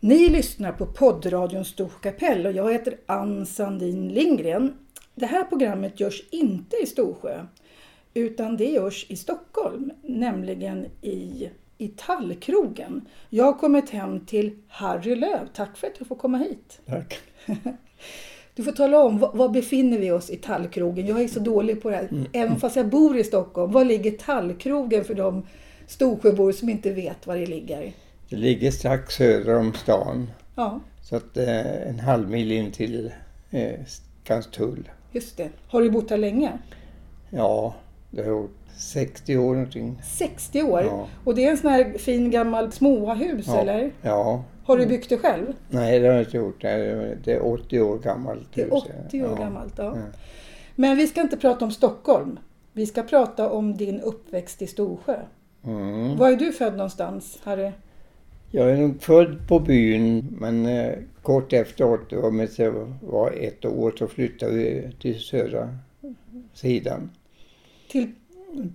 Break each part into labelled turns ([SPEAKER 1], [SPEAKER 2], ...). [SPEAKER 1] Ni lyssnar på poddradion Storkapell och jag heter Ann Sandin Lindgren. Det här programmet görs inte i Storsjö utan det görs i Stockholm, nämligen i, i Tallkrogen. Jag har kommit hem till Harry Löv. Tack för att jag får komma hit.
[SPEAKER 2] Tack.
[SPEAKER 1] Du får tala om, var, var befinner vi oss i Tallkrogen? Jag är så dålig på det här, även fast jag bor i Stockholm. Var ligger Tallkrogen för de Storsjöbor som inte vet var det ligger?
[SPEAKER 2] Det ligger strax söder om stan,
[SPEAKER 1] Ja,
[SPEAKER 2] så att eh, en halv mil in till eh, Skanstull.
[SPEAKER 1] just det. Har du bott här länge?
[SPEAKER 2] Ja, det har gjort 60 år någonting.
[SPEAKER 1] 60 år?
[SPEAKER 2] Ja.
[SPEAKER 1] Och det är en sån här fin gammal småhus
[SPEAKER 2] Ja. Mm.
[SPEAKER 1] eller?
[SPEAKER 2] Ja.
[SPEAKER 1] Har du byggt det själv?
[SPEAKER 2] Nej, det har jag inte gjort. Det är- Det är 80 år gammalt.
[SPEAKER 1] Det är
[SPEAKER 2] hus.
[SPEAKER 1] 80 år
[SPEAKER 2] ja. Mm.
[SPEAKER 1] gammalt. Ja.
[SPEAKER 2] Ja.
[SPEAKER 1] Men vi ska inte prata om Stockholm. Vi ska prata om din uppväxt i Storsjö.
[SPEAKER 2] Mm.
[SPEAKER 1] Var är du född någonstans, Harry?
[SPEAKER 2] Jag är nog född på byn, men eh, kort efteråt, det var med att jag var ett år, så flyttade vi till södra sidan.
[SPEAKER 1] Till,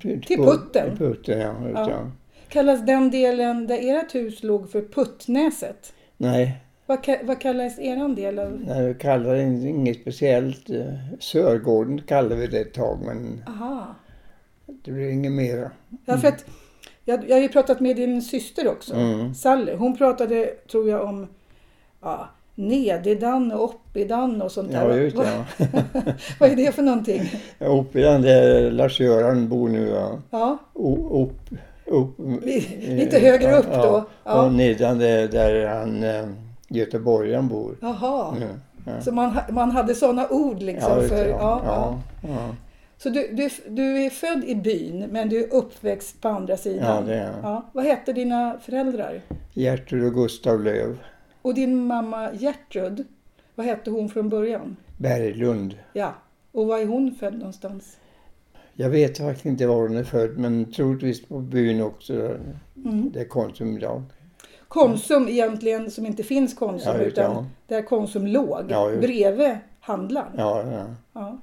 [SPEAKER 2] Till
[SPEAKER 1] Putten?
[SPEAKER 2] Till Putten, ja.
[SPEAKER 1] Ja.
[SPEAKER 2] ja.
[SPEAKER 1] kallas den delen där ert hus låg för Puttnäset?
[SPEAKER 2] Nej,
[SPEAKER 1] Vad, ka- vad kallas eran del av...
[SPEAKER 2] Nej, vi kallar det in- inget speciellt. eh, Sörgården kallade vi det ett tag men
[SPEAKER 1] Aha.
[SPEAKER 2] det blev inget mera.
[SPEAKER 1] Ja, för att jag, jag har ju pratat med din syster också,
[SPEAKER 2] Mm.
[SPEAKER 1] Sally. Hon pratade, tror jag, om ja, Nededan och Oppidan och sånt där.
[SPEAKER 2] Ja, just
[SPEAKER 1] vad,
[SPEAKER 2] det.
[SPEAKER 1] vad är det för någonting?
[SPEAKER 2] Ja. Oppidan där Lars-Göran bor nu. Ja.
[SPEAKER 1] Ja,
[SPEAKER 2] O- Upp, upp,
[SPEAKER 1] li- lite högre upp då.
[SPEAKER 2] Ja. Och
[SPEAKER 1] Ja.
[SPEAKER 2] nedan där, där han eh, göteborgaren bor.
[SPEAKER 1] Jaha.
[SPEAKER 2] Ja. Ja.
[SPEAKER 1] Så man, ha- man hade sådana ord liksom.
[SPEAKER 2] just det,
[SPEAKER 1] för, ja,
[SPEAKER 2] ja.
[SPEAKER 1] ja.
[SPEAKER 2] Ja, ja.
[SPEAKER 1] Så du, du, du är född i byn men du är uppväxt på andra sidan?
[SPEAKER 2] Ja, det är jag.
[SPEAKER 1] Ja. Vad hette dina föräldrar?
[SPEAKER 2] Gertrud och Gustav Löv
[SPEAKER 1] Och din mamma Gertrud, vad hette hon från början?
[SPEAKER 2] Berglund.
[SPEAKER 1] Ja. Och var är hon född någonstans?
[SPEAKER 2] Jag vet faktiskt inte var hon är född men troligtvis på byn också.
[SPEAKER 1] Mm.
[SPEAKER 2] Det är Konsum idag.
[SPEAKER 1] Konsum egentligen, som inte finns Konsum,
[SPEAKER 2] Ja, just det,
[SPEAKER 1] utan
[SPEAKER 2] ja.
[SPEAKER 1] där Konsum låg,
[SPEAKER 2] Ja, just.
[SPEAKER 1] bredvid handlaren. Ja.
[SPEAKER 2] Ja, ja.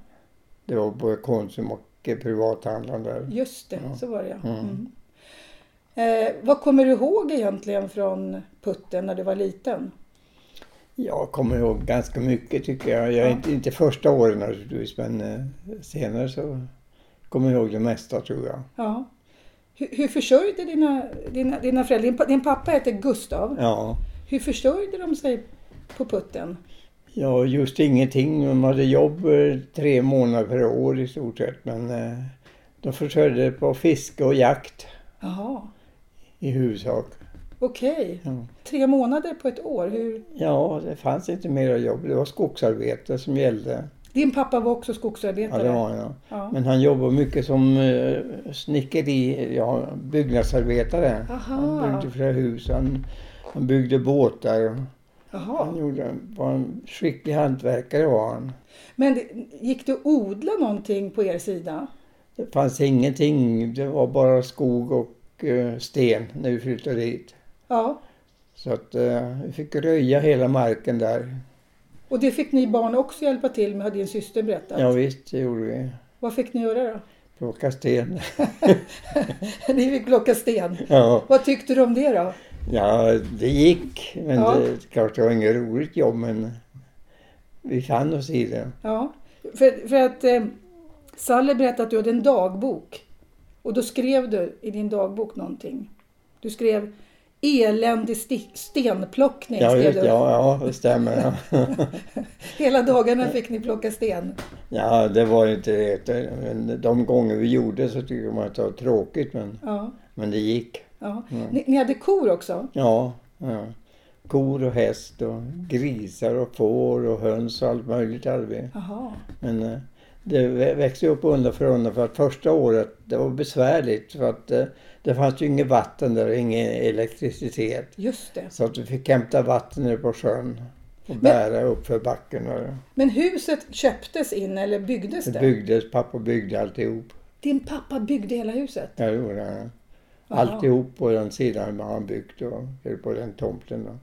[SPEAKER 2] Det var både Konsum och privathandlaren där.
[SPEAKER 1] just det,
[SPEAKER 2] Ja.
[SPEAKER 1] så var det ja.
[SPEAKER 2] Mm.
[SPEAKER 1] mm. eh, Vad kommer du ihåg egentligen från Putten när du var liten?
[SPEAKER 2] Jag kommer ihåg ganska mycket tycker jag. jag är
[SPEAKER 1] Ja.
[SPEAKER 2] inte, inte första åren naturligtvis men eh, senare så kommer jag ihåg det mesta tror jag.
[SPEAKER 1] Ja. Hur, hur försörjde dina, dina, dina föräldrar, din, pa- din pappa heter Gustav,
[SPEAKER 2] Ja,
[SPEAKER 1] hur försörjde de sig på putten?
[SPEAKER 2] ja just ingenting. De hade jobb eh, tre månader per år i stort sett men eh, de försörjde på fiske och jakt
[SPEAKER 1] Jaha,
[SPEAKER 2] i huvudsak.
[SPEAKER 1] okej.
[SPEAKER 2] Ja.
[SPEAKER 1] Tre månader på ett år. Hur...
[SPEAKER 2] ja, det fanns inte mera jobb. Det var skogsarbete som gällde.
[SPEAKER 1] Din pappa var också
[SPEAKER 2] Ja,
[SPEAKER 1] skogsarbetare?
[SPEAKER 2] det var jag.
[SPEAKER 1] Ja.
[SPEAKER 2] Men han jobbar mycket som eh, snickeri, ja, byggnadsarbetare. Han
[SPEAKER 1] Aha.
[SPEAKER 2] byggde flera hus, han, han byggde båtar. Han
[SPEAKER 1] Jaha.
[SPEAKER 2] gjorde, var en skicklig hantverkare var han.
[SPEAKER 1] Men det- gick det att odla någonting på er sida?
[SPEAKER 2] Det fanns ingenting, det var bara skog och eh, sten när vi flyttade dit.
[SPEAKER 1] Ja.
[SPEAKER 2] Så att eh, vi fick röja hela marken där.
[SPEAKER 1] Och det fick ni barn också hjälpa till med, har din syster berättat.
[SPEAKER 2] Ja visst, det gjorde vi.
[SPEAKER 1] Vad fick ni göra då?
[SPEAKER 2] Plocka sten.
[SPEAKER 1] ni fick plocka sten.
[SPEAKER 2] Ja,
[SPEAKER 1] Vad tyckte du om det då?
[SPEAKER 2] ja det gick. Men
[SPEAKER 1] Ja.
[SPEAKER 2] det, klart det var inget roligt jobb men vi fann oss i det.
[SPEAKER 1] Ja, för, för att eh, Sally berättade att du hade en dagbok. Och då skrev du i din dagbok någonting. Du skrev eländig sti- stenplockning.
[SPEAKER 2] Ja,
[SPEAKER 1] skrev
[SPEAKER 2] just,
[SPEAKER 1] du.
[SPEAKER 2] det. ja, ja, det stämmer. ja.
[SPEAKER 1] Hela dagarna fick ni plocka sten.
[SPEAKER 2] Ja, det var ju inte det. Men de gånger vi gjorde så tycker man att det var tråkigt, men,
[SPEAKER 1] Ja,
[SPEAKER 2] men det gick.
[SPEAKER 1] ja.
[SPEAKER 2] Mm.
[SPEAKER 1] Ni, ni hade kor också?
[SPEAKER 2] Ja, ja. Kor och häst och grisar och får och höns och allt möjligt hade vi.
[SPEAKER 1] Jaha.
[SPEAKER 2] Men eh, det vä- växte upp undan för undan för att första året det var besvärligt för att eh, det fanns ju inget vatten där och ingen elektricitet.
[SPEAKER 1] Just det.
[SPEAKER 2] Så att vi fick hämta vatten nere på sjön och bära upp för backen. Och
[SPEAKER 1] Men huset köptes in eller byggdes
[SPEAKER 2] det
[SPEAKER 1] det?
[SPEAKER 2] byggdes, pappa byggde alltihop.
[SPEAKER 1] Din pappa byggde hela huset?
[SPEAKER 2] Ja, det gjorde han.
[SPEAKER 1] Jaha.
[SPEAKER 2] Alltihop på den sidan har han byggt och eller på den tomten. Då.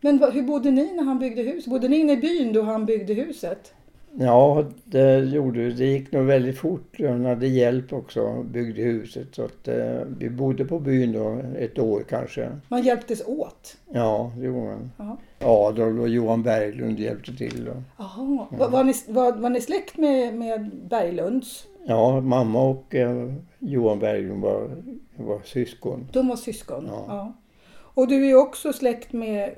[SPEAKER 1] Men vad- hur bodde ni när han byggde huset? Bodde ni inne i byn då han byggde huset?
[SPEAKER 2] Ja, det gjorde vi. Det gick nog väldigt fort. Hon hade hjälp också och byggde huset. Så att, eh, vi bodde på byn då ett år kanske.
[SPEAKER 1] Man hjälptes åt.
[SPEAKER 2] Ja, det gjorde man.
[SPEAKER 1] Ja.
[SPEAKER 2] Adolf och Johan Berglund hjälpte till. Då.
[SPEAKER 1] Jaha.
[SPEAKER 2] Mm.
[SPEAKER 1] Var, var, ni, var, var ni släkt med, med Berglunds?
[SPEAKER 2] Ja, mamma och eh, Johan Berglund var, var syskon.
[SPEAKER 1] De var syskon?
[SPEAKER 2] Ja.
[SPEAKER 1] Och du är ju också släkt med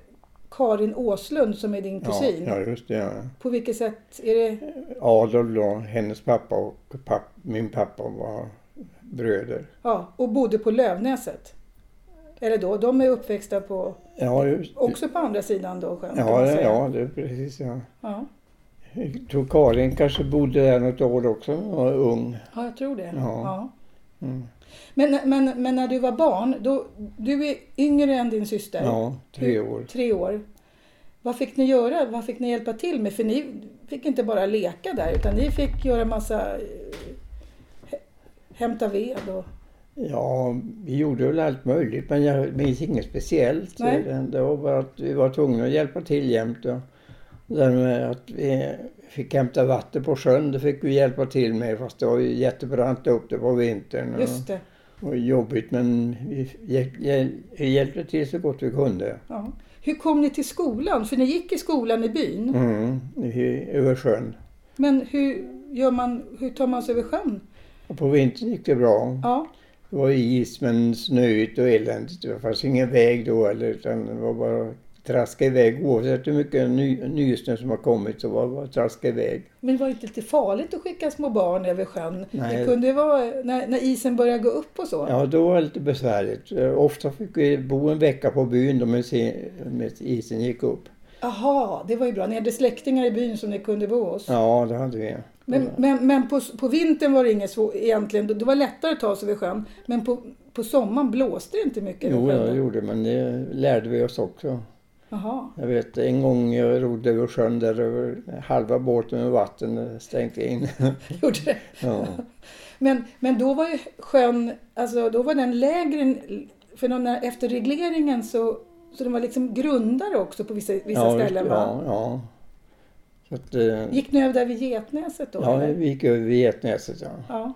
[SPEAKER 1] Karin Åslund som är din kusin.
[SPEAKER 2] Ja, ja, just det. Ja.
[SPEAKER 1] På vilket sätt är det?
[SPEAKER 2] Adolf då, hennes pappa och papp, min pappa var bröder.
[SPEAKER 1] Ja, och bodde på Lövnäset. Eller då, de är uppväxta på,
[SPEAKER 2] Ja, just
[SPEAKER 1] också på andra sidan då sjön kan
[SPEAKER 2] Ja,
[SPEAKER 1] man
[SPEAKER 2] ja,
[SPEAKER 1] säga.
[SPEAKER 2] ja, det är precis. Ja.
[SPEAKER 1] Ja.
[SPEAKER 2] Jag tror Karin kanske bodde där något år också, när hon var ung.
[SPEAKER 1] ja, jag tror det.
[SPEAKER 2] Ja. Mm.
[SPEAKER 1] Men, men, men när du var barn, då, du är yngre än din syster.
[SPEAKER 2] Ja, tre år.
[SPEAKER 1] Tre år. Vad fick ni göra? Vad fick ni hjälpa till med? För ni fick inte bara leka där utan ni fick göra massa... eh, hä- Hämta ved och...
[SPEAKER 2] Ja, vi gjorde väl allt möjligt men jag minns inget speciellt.
[SPEAKER 1] Nej.
[SPEAKER 2] Det var bara att vi var tvungna att hjälpa till jämt. Och det där med att vi fick hämta vatten på sjön, det fick vi hjälpa till med fast det var ju jättebrant upp det på vintern. och-
[SPEAKER 1] Just det.
[SPEAKER 2] Och jobbigt men vi hjäl- hjäl- vi hjälpte till så gott vi kunde.
[SPEAKER 1] Ja. Hur kom ni till skolan? För ni gick i skolan i byn.
[SPEAKER 2] Mm, i- över sjön.
[SPEAKER 1] Men hur, gör man, hur tar man sig över sjön?
[SPEAKER 2] Och på vintern gick det bra.
[SPEAKER 1] Ja,
[SPEAKER 2] Det var is men snöigt och eländigt. Det fanns ingen väg då eller utan det var bara att traska iväg. Oavsett hur mycket ny, nysnö som har kommit så var det bara att traska iväg.
[SPEAKER 1] men var det inte lite farligt att skicka små barn över sjön?
[SPEAKER 2] Nej.
[SPEAKER 1] Det kunde ju vara eh, när, när isen började gå upp och så.
[SPEAKER 2] Ja, då var det lite besvärligt. Eh, Ofta fick vi bo en vecka på byn då med, se- med isen gick upp.
[SPEAKER 1] Jaha, det var ju bra. Ni hade släktingar i byn som ni kunde bo hos.
[SPEAKER 2] Ja, det hade vi.
[SPEAKER 1] Men, men, men på, på vintern var det inget svårt egentligen. Det det var lättare att ta sig över sjön. Men på, på sommaren blåste det inte mycket
[SPEAKER 2] Jo,
[SPEAKER 1] över sjön.
[SPEAKER 2] ja,
[SPEAKER 1] då?
[SPEAKER 2] det gjorde men det lärde vi oss också.
[SPEAKER 1] Jaha.
[SPEAKER 2] Jag vet en gång jag rodde över sjön där över halva båten med vatten stänkte in.
[SPEAKER 1] Gjorde det.
[SPEAKER 2] ja.
[SPEAKER 1] Men, men då var ju sjön, alltså då var den lägre, än- för när- när, efter regleringen så, så den var liksom grundare också på vissa, vissa
[SPEAKER 2] ja,
[SPEAKER 1] ställen. Va?
[SPEAKER 2] Ja, ja. Så att, eh,
[SPEAKER 1] Gick ni över där vid Getnäset då?
[SPEAKER 2] Ja,
[SPEAKER 1] eller?
[SPEAKER 2] vi Mm. gick över Vietnäset ja.
[SPEAKER 1] ja.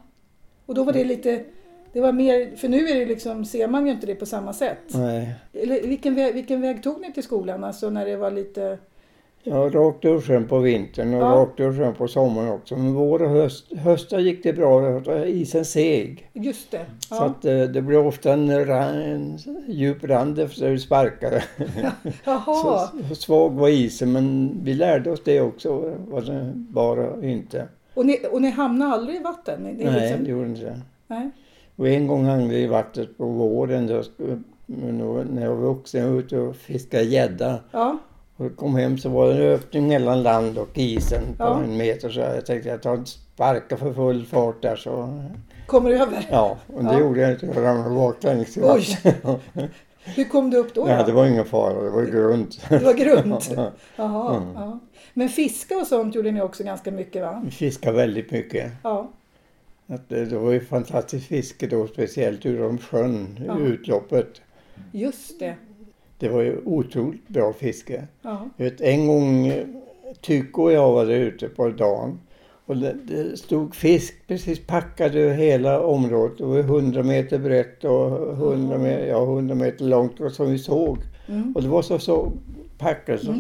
[SPEAKER 1] Och då var det lite, det var mer, för nu är det liksom, ser man ju inte det på samma sätt.
[SPEAKER 2] Nej.
[SPEAKER 1] Eller, vilken, väg, vilken väg tog ni till skolan alltså när det var lite,
[SPEAKER 2] Ja, rakt ur sjön på vintern och
[SPEAKER 1] Ja.
[SPEAKER 2] rakt ur sjön på sommaren också. Men vår och höst, hösten gick det bra, då var isen seg.
[SPEAKER 1] just det. Ja.
[SPEAKER 2] Så att eh, det blev ofta en, ra- en djup rand efter vi sparkade.
[SPEAKER 1] Jaha,
[SPEAKER 2] Så, så svag var isen men vi lärde oss det också, vad det var och inte.
[SPEAKER 1] och ni, och ni hamnade aldrig i vatten? Ni, ni
[SPEAKER 2] Nej,
[SPEAKER 1] liksom,
[SPEAKER 2] det gjorde inte det.
[SPEAKER 1] nej.
[SPEAKER 2] Och en gång hang vi i vattnet på våren då, sk- men då- när jag var vuxen jag var ute och fiskade gädda.
[SPEAKER 1] Ja,
[SPEAKER 2] Och jag kom hem så var det en öppning mellan land och isen på
[SPEAKER 1] Ja.
[SPEAKER 2] en meter så jag tänkte jag tar en sparka för full fart där så...
[SPEAKER 1] kommer du över?
[SPEAKER 2] Ja, och det
[SPEAKER 1] Ja.
[SPEAKER 2] gjorde jag inte. Jag ramlade baklänges i
[SPEAKER 1] Oj!
[SPEAKER 2] vattnet.
[SPEAKER 1] Hur kom du upp då?
[SPEAKER 2] Nej,
[SPEAKER 1] då?
[SPEAKER 2] liksom. det var ingen fara, det var grunt.
[SPEAKER 1] Det var grunt. Jaha,
[SPEAKER 2] Mm.
[SPEAKER 1] ja. Men fiska och sånt gjorde ni också ganska mycket va?
[SPEAKER 2] Vi fiskade väldigt mycket.
[SPEAKER 1] Ja,
[SPEAKER 2] Att eh, Det det var ju fantastiskt fiske då, speciellt ur de sjön,
[SPEAKER 1] Ja.
[SPEAKER 2] utloppet.
[SPEAKER 1] just det.
[SPEAKER 2] Det var ju otroligt bra fiske.
[SPEAKER 1] Ja,
[SPEAKER 2] Jag vet, en gång eh, Tyko och jag var där ute på dagen och det, det stod fisk precis packad över hela området. Det var 100 meter brett och 100 meter, ja, 100 meter långt och som vi såg.
[SPEAKER 1] mm.
[SPEAKER 2] Och det var så, så packat så,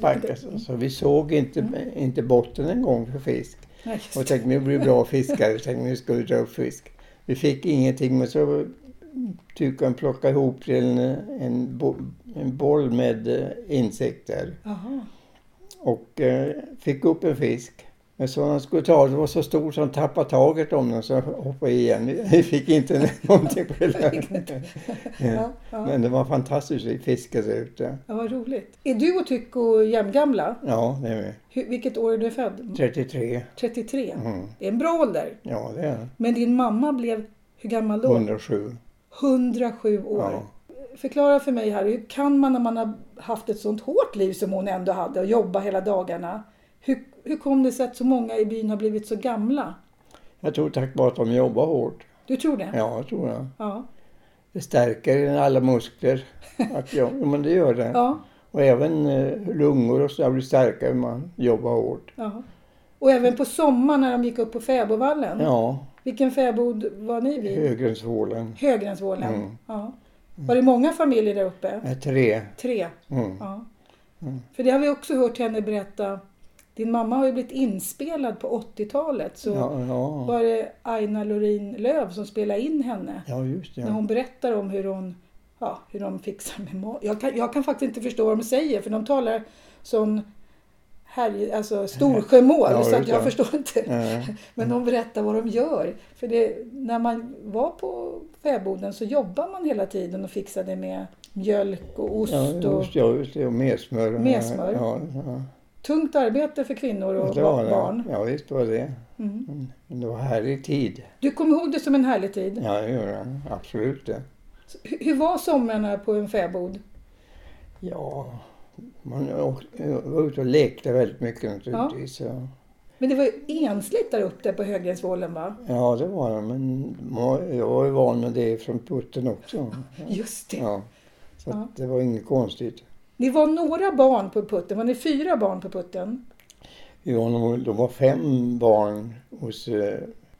[SPEAKER 2] packat så, så vi såg inte, inte botten en gång för fisk.
[SPEAKER 1] Nej, just
[SPEAKER 2] Och
[SPEAKER 1] det.
[SPEAKER 2] tänkte nu blir vi bra fiskare, tänkte nu ska vi dra upp fisk. Vi fick ingenting men så Tykan plockade ihop till en, en, bo, en boll med eh, insekter
[SPEAKER 1] Jaha.
[SPEAKER 2] och eh, fick upp en fisk. Men så när han skulle ta den var så stor så han tappade taget om den så han hoppade igen. Vi fick inte någonting på det.
[SPEAKER 1] Ja, ja.
[SPEAKER 2] Men det var fantastiskt vi fiskade där ute.
[SPEAKER 1] ja, vad roligt. Är du och Tycho jämngamla?
[SPEAKER 2] Ja, det är
[SPEAKER 1] Hur- Vilket år är du född?
[SPEAKER 2] vi. 33.
[SPEAKER 1] 33.
[SPEAKER 2] Mm.
[SPEAKER 1] Det är en bra ålder.
[SPEAKER 2] Ja, det är
[SPEAKER 1] Men din mamma blev, hur gammal då?
[SPEAKER 2] 107.
[SPEAKER 1] 107 år.
[SPEAKER 2] Ja.
[SPEAKER 1] Förklara för mig här, hur kan man när man har haft ett sånt hårt liv som hon ändå hade och jobba hela dagarna. Hur, hur kom det sig att så många i byn har blivit så gamla?
[SPEAKER 2] Jag tror tack vare att de jobbar hårt.
[SPEAKER 1] Du tror det?
[SPEAKER 2] Ja, jag tror jag.
[SPEAKER 1] Ja.
[SPEAKER 2] Det stärker alla muskler. Att jag, ja, men det gör det.
[SPEAKER 1] Ja.
[SPEAKER 2] Och även eh, lungor och så där blir starkare om man jobbar hårt.
[SPEAKER 1] ja. Och även på sommaren när de gick upp på fäbodvallen.
[SPEAKER 2] Ja,
[SPEAKER 1] Vilken fäbod var ni vid?
[SPEAKER 2] Högrensvålen.
[SPEAKER 1] Högrensvålen.
[SPEAKER 2] Mm.
[SPEAKER 1] Ja. Var det många familjer där uppe?
[SPEAKER 2] Är tre.
[SPEAKER 1] Tre.
[SPEAKER 2] Mm.
[SPEAKER 1] Ja.
[SPEAKER 2] Mm.
[SPEAKER 1] För det har vi också hört henne berätta. Din mamma har ju blivit inspelad på 80-talet. Så
[SPEAKER 2] Ja, ja.
[SPEAKER 1] var det Aina Lorin Löv som spelade in henne.
[SPEAKER 2] ja, just det.
[SPEAKER 1] När hon berättar om hur hon ja, hur de fixar med mat. Jag kan, jag kan faktiskt inte förstå vad de säger för de talar sån här, alltså storsjömål
[SPEAKER 2] Ja,
[SPEAKER 1] så att
[SPEAKER 2] just
[SPEAKER 1] jag
[SPEAKER 2] det.
[SPEAKER 1] förstår inte.
[SPEAKER 2] Ja.
[SPEAKER 1] Men de berättar vad de gör. För det, när man var på fäboden så jobbar man hela tiden och fixade med mjölk och ost.
[SPEAKER 2] Ja,
[SPEAKER 1] och
[SPEAKER 2] just, ja, just det. Och messmör.
[SPEAKER 1] Messmör.
[SPEAKER 2] Ja, ja.
[SPEAKER 1] Tungt arbete för kvinnor och
[SPEAKER 2] Det var det.
[SPEAKER 1] barn.
[SPEAKER 2] Ja, visst var det.
[SPEAKER 1] Mm.
[SPEAKER 2] Mm. Det var härlig tid.
[SPEAKER 1] Du kommer ihåg det som en härlig tid.
[SPEAKER 2] Ja, det gjorde jag. Absolut det.
[SPEAKER 1] Så hu- Hur var somrarna på en fäbod?
[SPEAKER 2] Ja, man åkte- var ute och lekte väldigt mycket naturligtvis. Ja.
[SPEAKER 1] Men det var ju ensligt där uppe på Högrensvålen va?
[SPEAKER 2] Ja, det var det. Men ma- jag var ju van med det från putten också.
[SPEAKER 1] Just det.
[SPEAKER 2] Ja. Så
[SPEAKER 1] Ja.
[SPEAKER 2] att det var inget konstigt.
[SPEAKER 1] Ni var några barn på putten. Var ni fyra barn på putten?
[SPEAKER 2] Vi var nog, de var fem barn hos eh,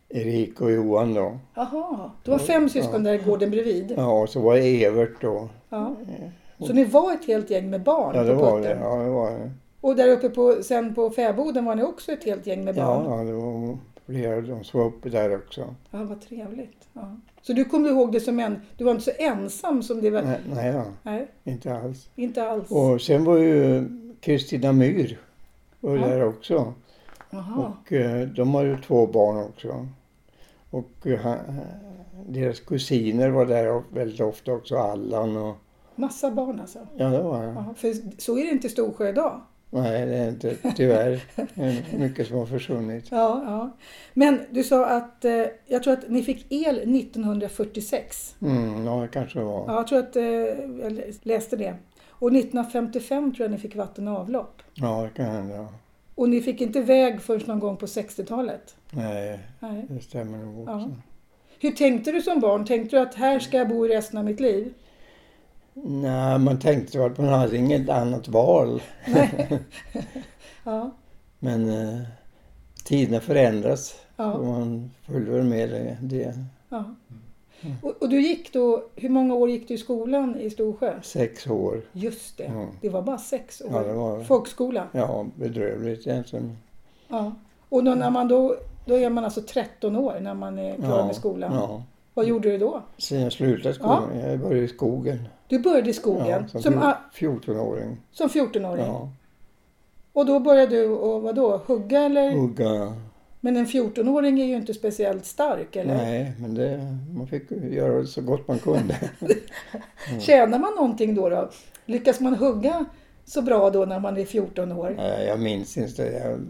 [SPEAKER 2] Erik och Johan då.
[SPEAKER 1] Jaha, det var fem syskon där i gården bredvid.
[SPEAKER 2] Ja, och så var det Evert då.
[SPEAKER 1] Ja. Så ni var ett helt gäng med barn
[SPEAKER 2] Ja, det
[SPEAKER 1] på
[SPEAKER 2] var det.
[SPEAKER 1] putten?
[SPEAKER 2] Ja, det var det.
[SPEAKER 1] Och där uppe på, sen på fäboden var ni också ett helt gäng med barn?
[SPEAKER 2] Ja, ja, det var flera av dem som var uppe där också.
[SPEAKER 1] Ja, vad trevligt. Ja. Så du kommer ihåg det som en... Du var inte så ensam som det var?
[SPEAKER 2] Nej, nej då,
[SPEAKER 1] Nej,
[SPEAKER 2] inte alls.
[SPEAKER 1] inte alls.
[SPEAKER 2] Och sen var ju Kristina Myhr var ju
[SPEAKER 1] Ja.
[SPEAKER 2] där också.
[SPEAKER 1] Jaha.
[SPEAKER 2] Och eh, de har ju två barn också. Och eh, han- deras kusiner var där väldigt ofta också, Allan och...
[SPEAKER 1] Massa barn alltså.
[SPEAKER 2] Ja, det var det.
[SPEAKER 1] Jaha. För så är det inte i Storsjö idag.
[SPEAKER 2] Nej, det är inte, tyvärr. Det är mycket som har försvunnit.
[SPEAKER 1] Ja, ja. Men du sa att... Eh, jag tror att ni fick el 1946.
[SPEAKER 2] Mm, ja, det kanske det var.
[SPEAKER 1] Ja, jag tror att... Eh, jag lä- läste det. Och 1955 tror jag ni fick vatten och avlopp.
[SPEAKER 2] Ja, det kan hända.
[SPEAKER 1] Och ni fick inte väg förrän någon gång på 60-talet.
[SPEAKER 2] Nej,
[SPEAKER 1] Nej.
[SPEAKER 2] det stämmer nog
[SPEAKER 1] Ja.
[SPEAKER 2] också.
[SPEAKER 1] Hur tänkte du som barn? Tänkte du att här ska jag bo i resten av mitt liv?
[SPEAKER 2] Nej, man tänkte väl att man hade inget annat val.
[SPEAKER 1] Ja,
[SPEAKER 2] Men eh, tiderna förändras och
[SPEAKER 1] ja,
[SPEAKER 2] man följer väl med det. det.
[SPEAKER 1] ja. Och, och du gick då, hur många år gick du i skolan i Storsjö?
[SPEAKER 2] Sex år.
[SPEAKER 1] Just det,
[SPEAKER 2] Mm.
[SPEAKER 1] det var bara sex år.
[SPEAKER 2] Ja, det var det.
[SPEAKER 1] Folkskola.
[SPEAKER 2] Ja, bedrövligt egentligen.
[SPEAKER 1] Ja. Och då, när man då, då är man alltså 13 år när man är klar
[SPEAKER 2] Ja,
[SPEAKER 1] med skolan.
[SPEAKER 2] Ja.
[SPEAKER 1] Vad gjorde du då?
[SPEAKER 2] Sen jag slutade skolan, jag började i skogen.
[SPEAKER 1] Du började i skogen
[SPEAKER 2] Ja,
[SPEAKER 1] som,
[SPEAKER 2] som
[SPEAKER 1] a-
[SPEAKER 2] fjo- 14-åring.
[SPEAKER 1] som 14-åring.
[SPEAKER 2] Ja,
[SPEAKER 1] Och då började du och vadå, hugga eller?
[SPEAKER 2] hugga.
[SPEAKER 1] Men en 14-åring är ju inte speciellt stark eller?
[SPEAKER 2] Nej, men det, man fick göra så gott man kunde.
[SPEAKER 1] Tjänar man någonting då, då? Lyckas man hugga så bra då när man är 14 år?
[SPEAKER 2] Nej, jag minns inte. Jag,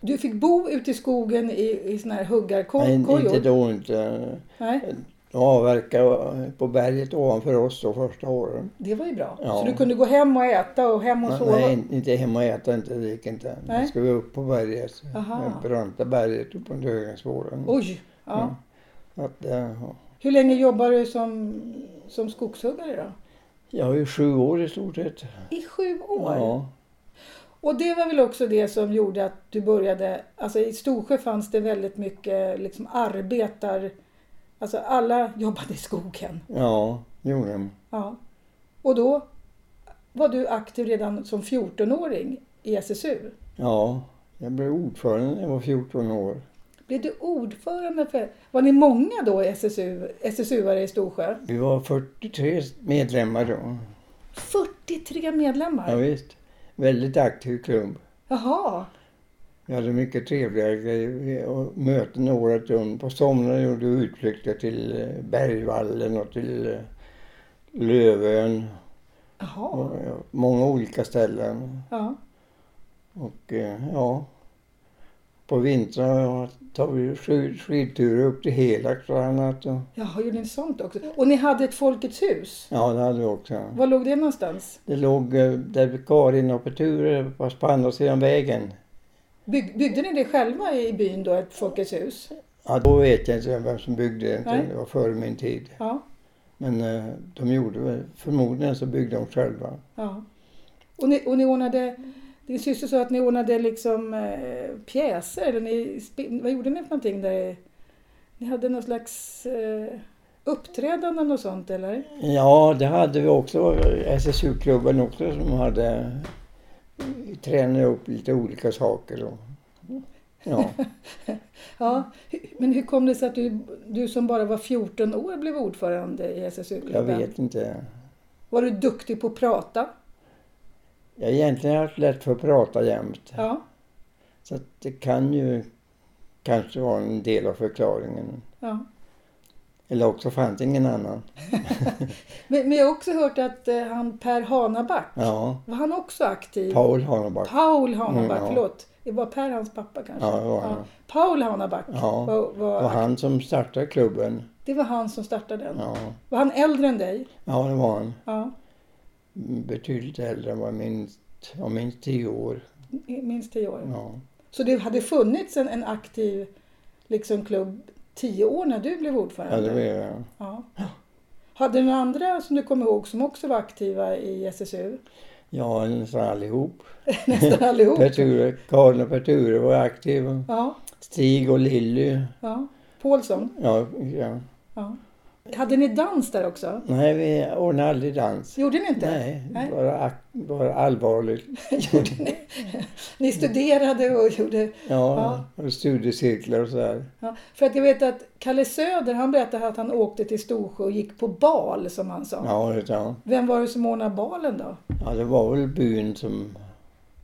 [SPEAKER 1] Du fick bo ute i skogen i, i såna här
[SPEAKER 2] nej, inte
[SPEAKER 1] huggarkojor?
[SPEAKER 2] då inte.
[SPEAKER 1] Nej,
[SPEAKER 2] Jag avverkade på berget ovanför oss då första åren.
[SPEAKER 1] det var ju bra.
[SPEAKER 2] Ja.
[SPEAKER 1] Så du kunde gå hem och äta och hem och sova?
[SPEAKER 2] Nej, inte hemma och äta inte. Det gick inte.
[SPEAKER 1] Nej.
[SPEAKER 2] Nej. skulle vi upp på berget.
[SPEAKER 1] Aha.
[SPEAKER 2] Det branta berget uppe på Högansvålen.
[SPEAKER 1] Oj! Ja.
[SPEAKER 2] Ja. Att, eh,
[SPEAKER 1] Hur länge jobbade du som, som skogshuggare då?
[SPEAKER 2] Jag var ju sju år i stort sett.
[SPEAKER 1] I sju år?
[SPEAKER 2] Ja.
[SPEAKER 1] Och det var väl också det som gjorde att du började... Alltså i Storsjö fanns det väldigt mycket liksom arbetar... Alltså alla jobbade i skogen.
[SPEAKER 2] Ja, det gjorde de.
[SPEAKER 1] Ja. Och då var du aktiv redan som 14-åring i SSU.
[SPEAKER 2] Ja. Jag blev ordförande när jag var 14 år.
[SPEAKER 1] Blev du ordförande för... Var ni många då i SSU, SSU-are i Storsjö?
[SPEAKER 2] Vi var 43 medlemmar då.
[SPEAKER 1] 43
[SPEAKER 2] Ja,
[SPEAKER 1] medlemmar?
[SPEAKER 2] visst. Väldigt aktiv klubb.
[SPEAKER 1] Jaha,
[SPEAKER 2] Vi hade mycket trevliga grejer och möten året runt. På somrarna gjorde vi utflykter till eh, Bergvallen och till eh, Lövön.
[SPEAKER 1] jaha.
[SPEAKER 2] Och, ja, många olika ställen.
[SPEAKER 1] Ja.
[SPEAKER 2] Och eh, ja, på vintrarna tar vi skid- skidturer upp till Helak bland annat. Och,
[SPEAKER 1] Jaha, gjorde ni sånt också? Och ni hade ett Folkets hus?
[SPEAKER 2] ja, det hade vi också.
[SPEAKER 1] Var låg det någonstans?
[SPEAKER 2] Det låg eh, där vid Karin och Peture, fast på andra sidan vägen.
[SPEAKER 1] Bygg, byggde ni det själva i byn då, ett Folkets hus?
[SPEAKER 2] Ja, då vet jag inte vem som byggde det.
[SPEAKER 1] Nej.
[SPEAKER 2] Det var före min tid.
[SPEAKER 1] Ja.
[SPEAKER 2] Men eh, de gjorde väl, förmodligen så byggde de själva.
[SPEAKER 1] ja. Och, ni, och ni ordnade... Din syster sa att ni ordnade liksom eh, pjäser, eller ni, spe- vad gjorde ni för någonting? Där, ni hade någon slags eh, uppträdanden och sånt eller?
[SPEAKER 2] Ja, det hade vi också. SSU-klubben också som hade tränade upp lite olika saker. Och, ja.
[SPEAKER 1] Ja, hu- men hur kom det sig att du, du som bara var 14 år blev ordförande i
[SPEAKER 2] Jag
[SPEAKER 1] SSU-klubben?
[SPEAKER 2] vet inte.
[SPEAKER 1] Var du duktig på att prata?
[SPEAKER 2] Jag har egentligen haft lätt för att prata jämt.
[SPEAKER 1] Ja.
[SPEAKER 2] Så att det kan ju kanske vara en del av förklaringen.
[SPEAKER 1] ja.
[SPEAKER 2] Eller också fanns ingen annan.
[SPEAKER 1] Men, men jag har också hört att eh, han Per Hanaback,
[SPEAKER 2] Ja,
[SPEAKER 1] var han också aktiv?
[SPEAKER 2] Paul Haneback.
[SPEAKER 1] Paul Hanaback,
[SPEAKER 2] Mm, ja.
[SPEAKER 1] förlåt. Det var Per hans pappa kanske?
[SPEAKER 2] Ja, det var han.
[SPEAKER 1] Paul Hanaback
[SPEAKER 2] Ja,
[SPEAKER 1] var,
[SPEAKER 2] det
[SPEAKER 1] var,
[SPEAKER 2] var han som startade klubben.
[SPEAKER 1] det var han som startade den.
[SPEAKER 2] Ja,
[SPEAKER 1] Var han äldre än dig?
[SPEAKER 2] ja det var han.
[SPEAKER 1] Ja,
[SPEAKER 2] Betydligt äldre än vad minst, ja, minst tio år.
[SPEAKER 1] minst tio år.
[SPEAKER 2] Ja.
[SPEAKER 1] Så det hade funnits en, en aktiv liksom, klubb tio år när du blev ordförande?
[SPEAKER 2] Ja, det var jag.
[SPEAKER 1] Ja. Hade du några andra som du kommer ihåg som också var aktiva i SSU?
[SPEAKER 2] Ja, nästan allihop.
[SPEAKER 1] Nästan allihop.
[SPEAKER 2] Perture, Karin och Perture var aktiva.
[SPEAKER 1] Ja,
[SPEAKER 2] Stig och Lilly.
[SPEAKER 1] ja. Paulsson.
[SPEAKER 2] Ja, ja.
[SPEAKER 1] Ja. Hade ni dans där också?
[SPEAKER 2] Nej, vi ordnade aldrig dans.
[SPEAKER 1] Gjorde ni inte?
[SPEAKER 2] Nej,
[SPEAKER 1] Nej.
[SPEAKER 2] Bara, ak- bara allvarligt.
[SPEAKER 1] Gjorde ni? ni studerade och gjorde...
[SPEAKER 2] Ja, och studiecirklar och sådär.
[SPEAKER 1] Ja. För att jag vet att Kalle Söder han berättade att han åkte till Storsjö och gick på bal som han sa.
[SPEAKER 2] Ja, det- ja.
[SPEAKER 1] Vem var det som ordnade balen då?
[SPEAKER 2] ja, det var väl byn som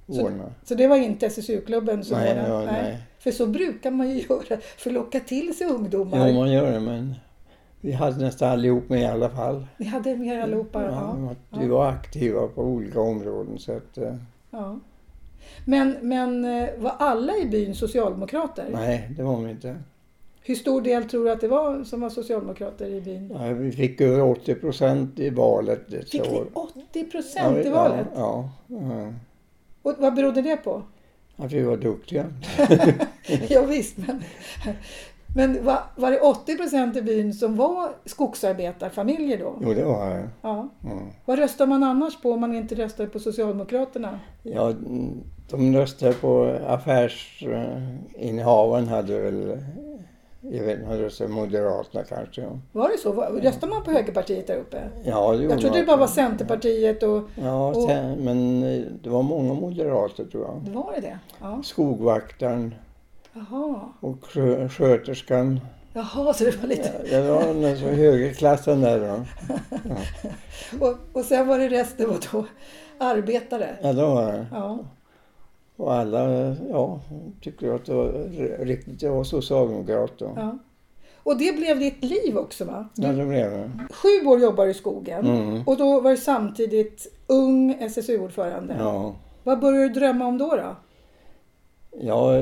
[SPEAKER 1] Så-
[SPEAKER 2] ordnade.
[SPEAKER 1] Så det var inte SSU-klubben som
[SPEAKER 2] Nej,
[SPEAKER 1] ordnade?
[SPEAKER 2] ja, nej.
[SPEAKER 1] För så brukar man ju göra för att locka till sig ungdomar.
[SPEAKER 2] Jo, man gör det, men vi hade nästan allihop med i alla fall.
[SPEAKER 1] Ni hade med er allihopa? ja.
[SPEAKER 2] Ja, att vi var aktiva på olika områden. Så att, eh,
[SPEAKER 1] Ja. Men, men eh, var alla i byn socialdemokrater?
[SPEAKER 2] nej, det var vi inte.
[SPEAKER 1] Hur stor del tror du att det var som var socialdemokrater i byn?
[SPEAKER 2] Ja, vi fick över 80 procent i valet. ett
[SPEAKER 1] Fick ni
[SPEAKER 2] år.
[SPEAKER 1] 80
[SPEAKER 2] Ja,
[SPEAKER 1] procent
[SPEAKER 2] vi-
[SPEAKER 1] i valet?
[SPEAKER 2] Ja, ja,
[SPEAKER 1] Och vad berodde det på?
[SPEAKER 2] ja. Att vi var duktiga.
[SPEAKER 1] ja, visst, men, men var, var det 80 procent i byn som var skogsarbetarfamiljer då?
[SPEAKER 2] Jo, det var det.
[SPEAKER 1] Ja.
[SPEAKER 2] Mm.
[SPEAKER 1] Vad röstar man annars på om man inte röstar på Socialdemokraterna?
[SPEAKER 2] Ja, de röstade på affärsinnehavaren hade väl... eh, Jag vet inte, han röstade Moderaterna kanske. ja.
[SPEAKER 1] Var det så? Var- Röstar man på Högerpartiet där uppe?
[SPEAKER 2] Ja, det gjorde
[SPEAKER 1] Jag trodde
[SPEAKER 2] man.
[SPEAKER 1] det bara var Centerpartiet och...
[SPEAKER 2] Ja,
[SPEAKER 1] och-
[SPEAKER 2] sen, men eh, det var många moderater tror jag.
[SPEAKER 1] Var det det? Ja.
[SPEAKER 2] Skogvaktaren
[SPEAKER 1] Jaha.
[SPEAKER 2] och skö- sköterskan.
[SPEAKER 1] Jaha, så det var lite...
[SPEAKER 2] Ja, Det var den så högerklassen där då.
[SPEAKER 1] Och, och sen var det resten var då arbetare.
[SPEAKER 2] Ja, det var det.
[SPEAKER 1] Ja,
[SPEAKER 2] Och alla ja, tyckte att det var r- riktigt. Jag var socialdemokrat då.
[SPEAKER 1] ja. Och det blev ditt liv också va?
[SPEAKER 2] Ja, det blev det.
[SPEAKER 1] Sju år jobbar du i skogen
[SPEAKER 2] Mm.
[SPEAKER 1] och då var du samtidigt ung SSU-ordförande.
[SPEAKER 2] Ja.
[SPEAKER 1] Vad började du drömma om då? då?
[SPEAKER 2] Ja,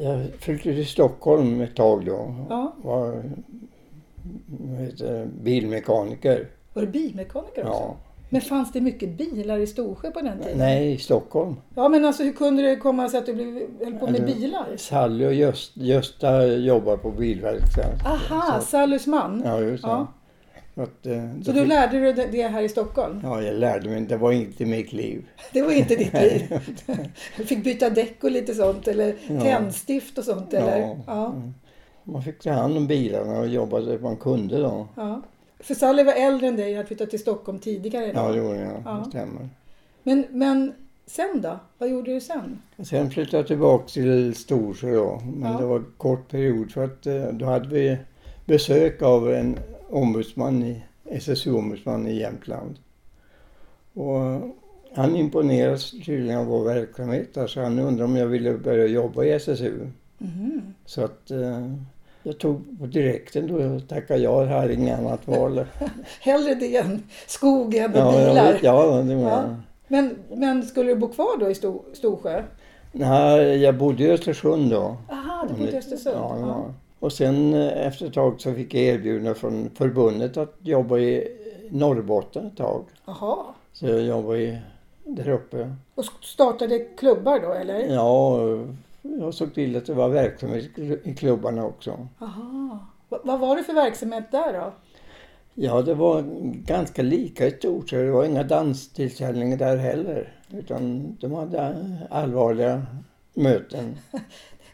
[SPEAKER 2] jag flyttade till Stockholm ett tag då.
[SPEAKER 1] Ja.
[SPEAKER 2] Var vad heter, det, bilmekaniker.
[SPEAKER 1] Var du bilmekaniker också?
[SPEAKER 2] Ja.
[SPEAKER 1] Men fanns det mycket bilar i Storsjö på den tiden?
[SPEAKER 2] Nej, i Stockholm.
[SPEAKER 1] Ja men alltså hur kunde det komma sig att du blev, höll på med
[SPEAKER 2] Eller-
[SPEAKER 1] bilar?
[SPEAKER 2] Sally och Gösta, Gösta jobbar på bilverkstad.
[SPEAKER 1] Aha, Sallys man.
[SPEAKER 2] Ja, just det.
[SPEAKER 1] Ja.
[SPEAKER 2] Så att, eh,
[SPEAKER 1] Så
[SPEAKER 2] då
[SPEAKER 1] du
[SPEAKER 2] fick-
[SPEAKER 1] lärde dig det- det här i Stockholm?
[SPEAKER 2] Ja, jag lärde mig. Det var inte mitt liv.
[SPEAKER 1] Det var inte ditt liv. Du fick byta däck och lite sånt eller
[SPEAKER 2] Ja.
[SPEAKER 1] tändstift och sånt eller?
[SPEAKER 2] Ja.
[SPEAKER 1] Ja.
[SPEAKER 2] Man fick ta hand om bilarna och jobba så att man kunde då.
[SPEAKER 1] ja. För Sally var äldre än dig och hade flyttat till Stockholm tidigare.
[SPEAKER 2] Ja, det
[SPEAKER 1] då.
[SPEAKER 2] gjorde jag.
[SPEAKER 1] Ja.
[SPEAKER 2] Det stämmer.
[SPEAKER 1] Men, men sen då? Vad gjorde du sen?
[SPEAKER 2] Och Sen flyttade jag tillbaka till Storsjö då. Men
[SPEAKER 1] Ja.
[SPEAKER 2] det var en kort period för att eh, då hade vi besök av en ombudsman, i- SSU-ombudsman i Jämtland. Och han imponerades tydligen av vår verksamhet där, så han undrade om jag ville börja jobba i SSU.
[SPEAKER 1] Mhm.
[SPEAKER 2] Så att eh, jag tog på direkten då och tackade ja, jag hade inget annat val.
[SPEAKER 1] Hellre det än skogen och
[SPEAKER 2] Ja, jag
[SPEAKER 1] bilar.
[SPEAKER 2] vet, ja, det var
[SPEAKER 1] Ja. Men, men skulle du bo kvar då i Stor, Storsjö?
[SPEAKER 2] Nej, jag bodde i Östersund då.
[SPEAKER 1] Aha, du bodde i Östersund?
[SPEAKER 2] Mm. Ja,
[SPEAKER 1] Ja.
[SPEAKER 2] ja. Och sen eh, efter ett tag så fick jag erbjudande från förbundet att jobba i Norrbotten ett tag.
[SPEAKER 1] Aha.
[SPEAKER 2] Så jag jobbade i, där uppe.
[SPEAKER 1] Och startade klubbar då eller?
[SPEAKER 2] Ja, och jag såg till att det var verksamhet i klubbarna också.
[SPEAKER 1] Aha. Va- Vad var det för verksamhet där då?
[SPEAKER 2] Ja, det var ganska lika i stort sett. Det var inga danstillställningar där heller. Utan de hade allvarliga möten.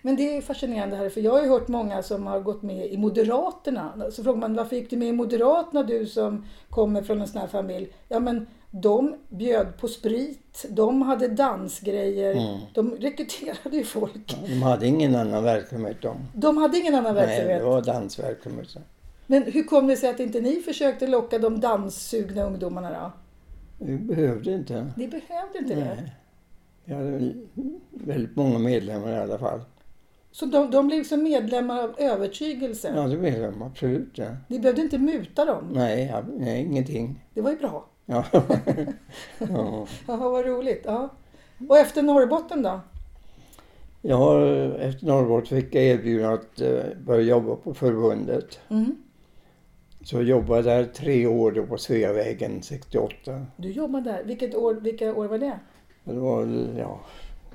[SPEAKER 1] Men det är fascinerande här, för jag har ju hört många som har gått med i Moderaterna. Så frågar man varför gick du med i Moderaterna du som kommer från en sån här familj? Ja men de bjöd på sprit, de hade dansgrejer,
[SPEAKER 2] Mm.
[SPEAKER 1] de rekryterade ju folk.
[SPEAKER 2] De hade ingen annan verksamhet de.
[SPEAKER 1] De hade ingen annan
[SPEAKER 2] Nej,
[SPEAKER 1] verksamhet.
[SPEAKER 2] det var dansverksamhet.
[SPEAKER 1] Men hur kom det sig att inte ni försökte locka de danssugna ungdomarna då?
[SPEAKER 2] Vi behövde inte.
[SPEAKER 1] Ni behövde inte det.
[SPEAKER 2] Nej. Vi hade väldigt många medlemmar i alla fall.
[SPEAKER 1] Så de, de blev som medlemmar av övertygelse.
[SPEAKER 2] Ja, det blev de Alltså, absolut. Ja.
[SPEAKER 1] Ni behövde inte muta dem.
[SPEAKER 2] Nej, ja, nej, ingenting.
[SPEAKER 1] Det var ju bra.
[SPEAKER 2] Ja. ja.
[SPEAKER 1] Jaha, vad roligt. Ja. Och efter Norrbotten då?
[SPEAKER 2] Jag har, efter Norrbotten fick jag erbjudande att eh, börja jobba på förbundet.
[SPEAKER 1] Mm.
[SPEAKER 2] Så jag jobbade där tre år då på Sveavägen 68.
[SPEAKER 1] Du jobbade där. Vilket år, vilka år var det?
[SPEAKER 2] Och Det var väl, ja,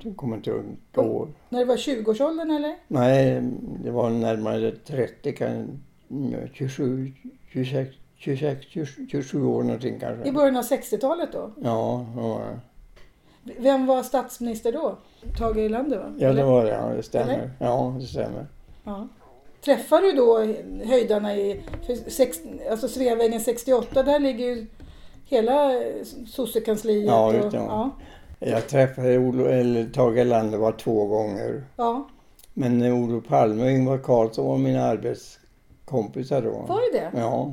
[SPEAKER 2] jag kommer inte ihåg vilka år.
[SPEAKER 1] När det var 20-årsåldern eller?
[SPEAKER 2] Nej, det var närmare 30, kan, mm, 27, 26, 26, 27, 27 år någonting
[SPEAKER 1] I
[SPEAKER 2] kanske.
[SPEAKER 1] början av 60-talet då?
[SPEAKER 2] Ja, det var det.
[SPEAKER 1] Vem var statsminister då? Tage Erlander va?
[SPEAKER 2] ja, det
[SPEAKER 1] Eller?
[SPEAKER 2] var det. Ja, det
[SPEAKER 1] Eller?
[SPEAKER 2] stämmer. Ja, det stämmer.
[SPEAKER 1] Ja. Träffar du då höjdarna i för sex, alltså Sveavägen 68? Där ligger ju hela eh, sossekansliet.
[SPEAKER 2] Ja,
[SPEAKER 1] och,
[SPEAKER 2] just det.
[SPEAKER 1] ja.
[SPEAKER 2] Jag träffade Olo, eller Tage Erlander bara två gånger.
[SPEAKER 1] ja.
[SPEAKER 2] Men eh, Olof Palme och Ingvar Carlsson var mina arbetskompisar då.
[SPEAKER 1] Var det det?
[SPEAKER 2] Ja.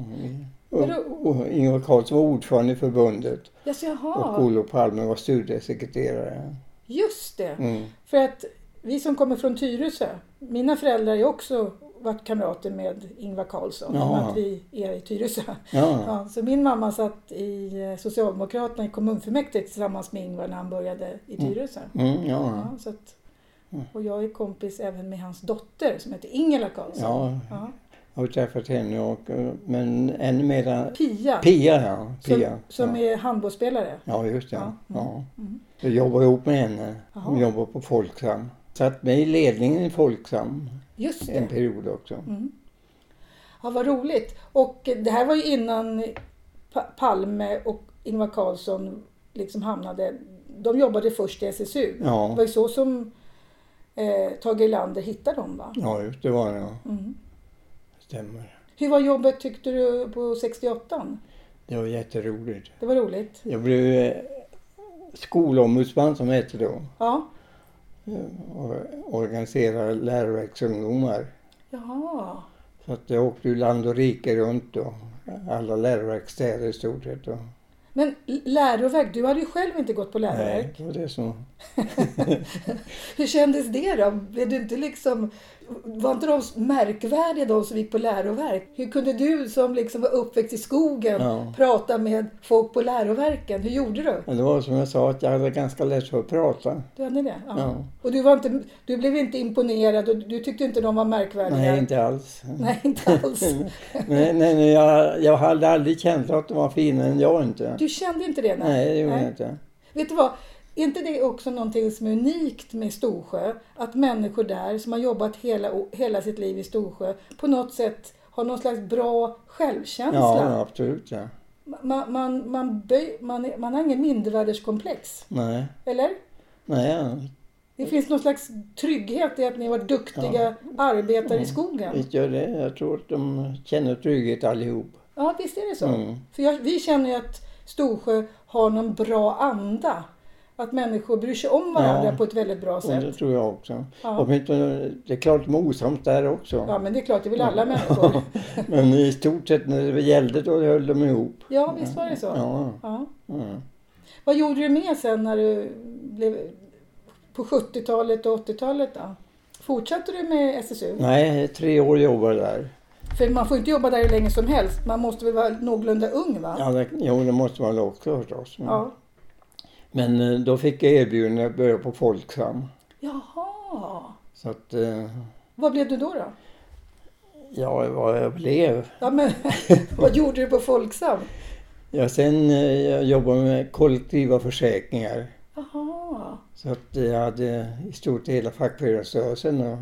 [SPEAKER 1] Men
[SPEAKER 2] Och,
[SPEAKER 1] då-
[SPEAKER 2] och Ingvar Carlsson var ordförande i förbundet
[SPEAKER 1] Jaså,
[SPEAKER 2] och
[SPEAKER 1] jaha.
[SPEAKER 2] Olof Palme var studiesekreterare.
[SPEAKER 1] Just det.
[SPEAKER 2] Mm.
[SPEAKER 1] För att vi som kommer från Tyresö, mina föräldrar är också varit kamrater med Ingvar Carlsson.
[SPEAKER 2] Jaha.
[SPEAKER 1] i och med Att vi är i Tyresö.
[SPEAKER 2] Ja.
[SPEAKER 1] Ja, så min mamma satt i eh, Socialdemokraterna i kommunfullmäktige tillsammans med Ingvar när han började i
[SPEAKER 2] Mm.
[SPEAKER 1] Tyresö.
[SPEAKER 2] Mm, ja.
[SPEAKER 1] Ja, så att,
[SPEAKER 2] Mm.
[SPEAKER 1] och jag är kompis även med hans dotter som heter Ingela Karlsson.
[SPEAKER 2] ja,
[SPEAKER 1] Ja.
[SPEAKER 2] jag har träffat henne och, men ännu mer
[SPEAKER 1] Pia,
[SPEAKER 2] Pia ja. Pia.
[SPEAKER 1] som, som
[SPEAKER 2] ja.
[SPEAKER 1] är handbollsspelare.
[SPEAKER 2] ja, just det. Ja.
[SPEAKER 1] Ja, mm.
[SPEAKER 2] Jag jobbar ihop med henne.
[SPEAKER 1] Jaha.
[SPEAKER 2] Hon jobbar på Folksam. Satt med i ledningen i Folksam
[SPEAKER 1] Just
[SPEAKER 2] en
[SPEAKER 1] det.
[SPEAKER 2] period också.
[SPEAKER 1] Mm. Ja, vad roligt. Och eh, det här var ju innan Pa- Palme och Ingvar Carlsson liksom hamnade... De jobbade först i SSU. Det
[SPEAKER 2] Ja,
[SPEAKER 1] var ju så som eh, Tage Erlander hittade dem va?
[SPEAKER 2] ja just det var det. Ja.
[SPEAKER 1] Mm.
[SPEAKER 2] Stämmer.
[SPEAKER 1] Hur var jobbet tyckte du på 68
[SPEAKER 2] Det var jätteroligt.
[SPEAKER 1] Det var roligt.
[SPEAKER 2] Jag blev eh, skolombudsman som hette då.
[SPEAKER 1] Ja.
[SPEAKER 2] eh, Och organiserade läroverksungdomar.
[SPEAKER 1] Jaha.
[SPEAKER 2] Så att jag åkte ju land och rike runt då. Alla läroverkstäder i stort sett. Och,
[SPEAKER 1] Men l- läroverk, du hade ju själv inte gått på läroverk.
[SPEAKER 2] nej, det var det som...
[SPEAKER 1] Hur kändes det då? Blev du inte liksom, var inte de märkvärdiga de som gick på läroverk? Hur kunde du som liksom var uppväxt i skogen
[SPEAKER 2] Ja.
[SPEAKER 1] prata med folk på läroverken? Hur gjorde du?
[SPEAKER 2] Men det var som jag sa att jag hade ganska lätt för att prata.
[SPEAKER 1] Du hade det? Ja.
[SPEAKER 2] Ja.
[SPEAKER 1] Och du, var inte, du blev inte imponerad och du tyckte inte de var märkvärdiga?
[SPEAKER 2] Nej, inte alls.
[SPEAKER 1] Nej, inte alls.
[SPEAKER 2] Men, nej, nej, jag, jag hade aldrig känt att de var finare än jag inte.
[SPEAKER 1] Du kände inte det?
[SPEAKER 2] Nej, det gjorde
[SPEAKER 1] Nej.
[SPEAKER 2] jag inte.
[SPEAKER 1] Vet du vad? Är inte det också någonting som är unikt med Storsjö? Att människor där som har jobbat hela, hela sitt liv i Storsjö på något sätt har någon slags bra självkänsla.
[SPEAKER 2] Ja, absolut ja.
[SPEAKER 1] Man, man, man, böj, man, är- man har ingen mindervärdeskomplex,
[SPEAKER 2] Nej,
[SPEAKER 1] eller?
[SPEAKER 2] nej. ja.
[SPEAKER 1] Det finns någon slags trygghet i att ni var duktiga arbetare
[SPEAKER 2] Mm.
[SPEAKER 1] i skogen.
[SPEAKER 2] Visst gör det. Jag tror att de känner trygghet allihop.
[SPEAKER 1] Ja, visst är det så.
[SPEAKER 2] Mm.
[SPEAKER 1] För jag, vi känner ju att Storsjö har någon bra anda. Att människor bryr sig om varandra
[SPEAKER 2] Ja.
[SPEAKER 1] på ett väldigt bra
[SPEAKER 2] Och det
[SPEAKER 1] sätt.
[SPEAKER 2] tror jag också.
[SPEAKER 1] Ja.
[SPEAKER 2] Åtminstone, det är klart de är osams där också.
[SPEAKER 1] ja, men det är klart, det vill alla människor.
[SPEAKER 2] Men i stort sett när det gällde då höll de ihop.
[SPEAKER 1] Ja, visst var det så.
[SPEAKER 2] Ja.
[SPEAKER 1] Ja.
[SPEAKER 2] Mm.
[SPEAKER 1] Vad gjorde du med sen när du blev på 70-talet och 80-talet då? Fortsatte du med SSU?
[SPEAKER 2] Nej, tre år jobbade jag där.
[SPEAKER 1] För man får inte jobba där hur länge som helst. Man måste väl vara någorlunda ung va?
[SPEAKER 2] Ja, Mm. det, jo, det måste man också förstås.
[SPEAKER 1] Ja.
[SPEAKER 2] Men eh, då fick jag erbjudande att börja på Folksam.
[SPEAKER 1] Jaha.
[SPEAKER 2] Så att, eh,
[SPEAKER 1] Vad blev du då då?
[SPEAKER 2] ja, vad jag blev.
[SPEAKER 1] Ja, men, vad gjorde du på Folksam?
[SPEAKER 2] Ja, sen eh, jag jobbade med kollektiva försäkringar.
[SPEAKER 1] Jaha.
[SPEAKER 2] Så att jag hade i stort hela fackföreningsrörelsen och,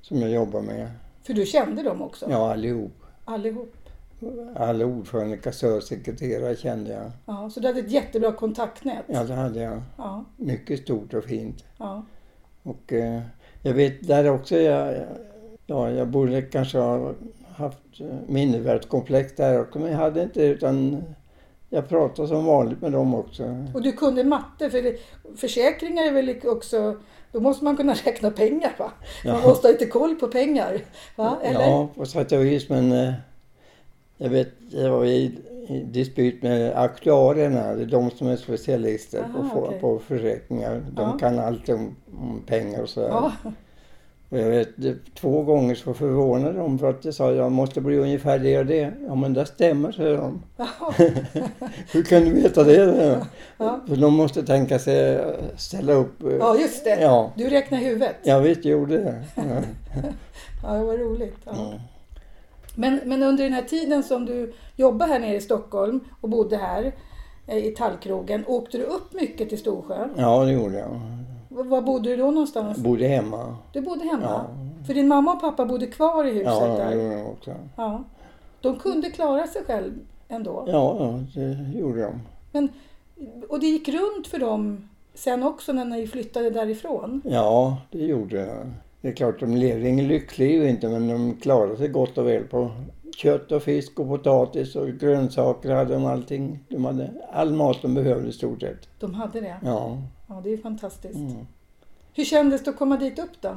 [SPEAKER 2] som jag jobbade med.
[SPEAKER 1] För du kände dem också?
[SPEAKER 2] Ja, allihop.
[SPEAKER 1] Allihop?
[SPEAKER 2] alla ordförande, kassörsekreterare kände jag.
[SPEAKER 1] Ja, så du hade ett jättebra kontaktnät?
[SPEAKER 2] Ja, det hade jag.
[SPEAKER 1] Ja,
[SPEAKER 2] Mycket stort och fint.
[SPEAKER 1] ja.
[SPEAKER 2] Och eh, jag vet där också, jag, ja, jag borde kanske ha haft eh, mindervärdeskomplex där också, men jag hade inte det, utan jag pratade som vanligt med dem också.
[SPEAKER 1] Och du kunde matte, för det- försäkringar är väl också... Då måste man kunna räkna pengar va? Man måste ha lite koll på pengar. Va? Eller?
[SPEAKER 2] Ja, på sätt och vis, men eh, jag vet, jag var i, i dispyt med aktuarierna, det är de som är specialister på,
[SPEAKER 1] Aha,
[SPEAKER 2] få-
[SPEAKER 1] okej.
[SPEAKER 2] på försäkringar. De
[SPEAKER 1] Ja.
[SPEAKER 2] kan allt om, om pengar och sådär.
[SPEAKER 1] Ja,
[SPEAKER 2] Och jag vet, det- två gånger så förvånade de för att jag sa jag måste bli ungefär det och det. Ja men det stämmer, säger de. Hur kan du veta det? säger de.
[SPEAKER 1] Ja.
[SPEAKER 2] För de måste tänka sig eh, ställa upp. eh,
[SPEAKER 1] ja just det.
[SPEAKER 2] Ja,
[SPEAKER 1] Du räknar i huvudet.
[SPEAKER 2] jag visst gjorde det. Ja.
[SPEAKER 1] Ja, det var roligt. Ja.
[SPEAKER 2] Mm.
[SPEAKER 1] Men, men under den här tiden som du jobbade här nere i Stockholm och bodde här eh, i Tallkrogen, åkte du upp mycket till Storsjö?
[SPEAKER 2] Ja, det gjorde jag.
[SPEAKER 1] Var, var bodde du då någonstans?
[SPEAKER 2] Bodde hemma.
[SPEAKER 1] Du bodde hemma? För din mamma och pappa bodde kvar i huset
[SPEAKER 2] Ja, det
[SPEAKER 1] där?
[SPEAKER 2] gjorde jag också.
[SPEAKER 1] Ja. De kunde klara sig själv ändå?
[SPEAKER 2] Ja, ja, det gjorde de.
[SPEAKER 1] Men, och det gick runt för dem sen också när ni flyttade därifrån?
[SPEAKER 2] Ja, det gjorde de. Det är klart, de levde ingen lyxliv inte, men de klarade sig gott och väl på kött och fisk och potatis och grönsaker hade de allting. De hade all mat de behövde i stort sett.
[SPEAKER 1] De hade det?
[SPEAKER 2] Ja.
[SPEAKER 1] Ja, det är ju fantastiskt.
[SPEAKER 2] Mm.
[SPEAKER 1] Hur kändes det att komma dit upp då?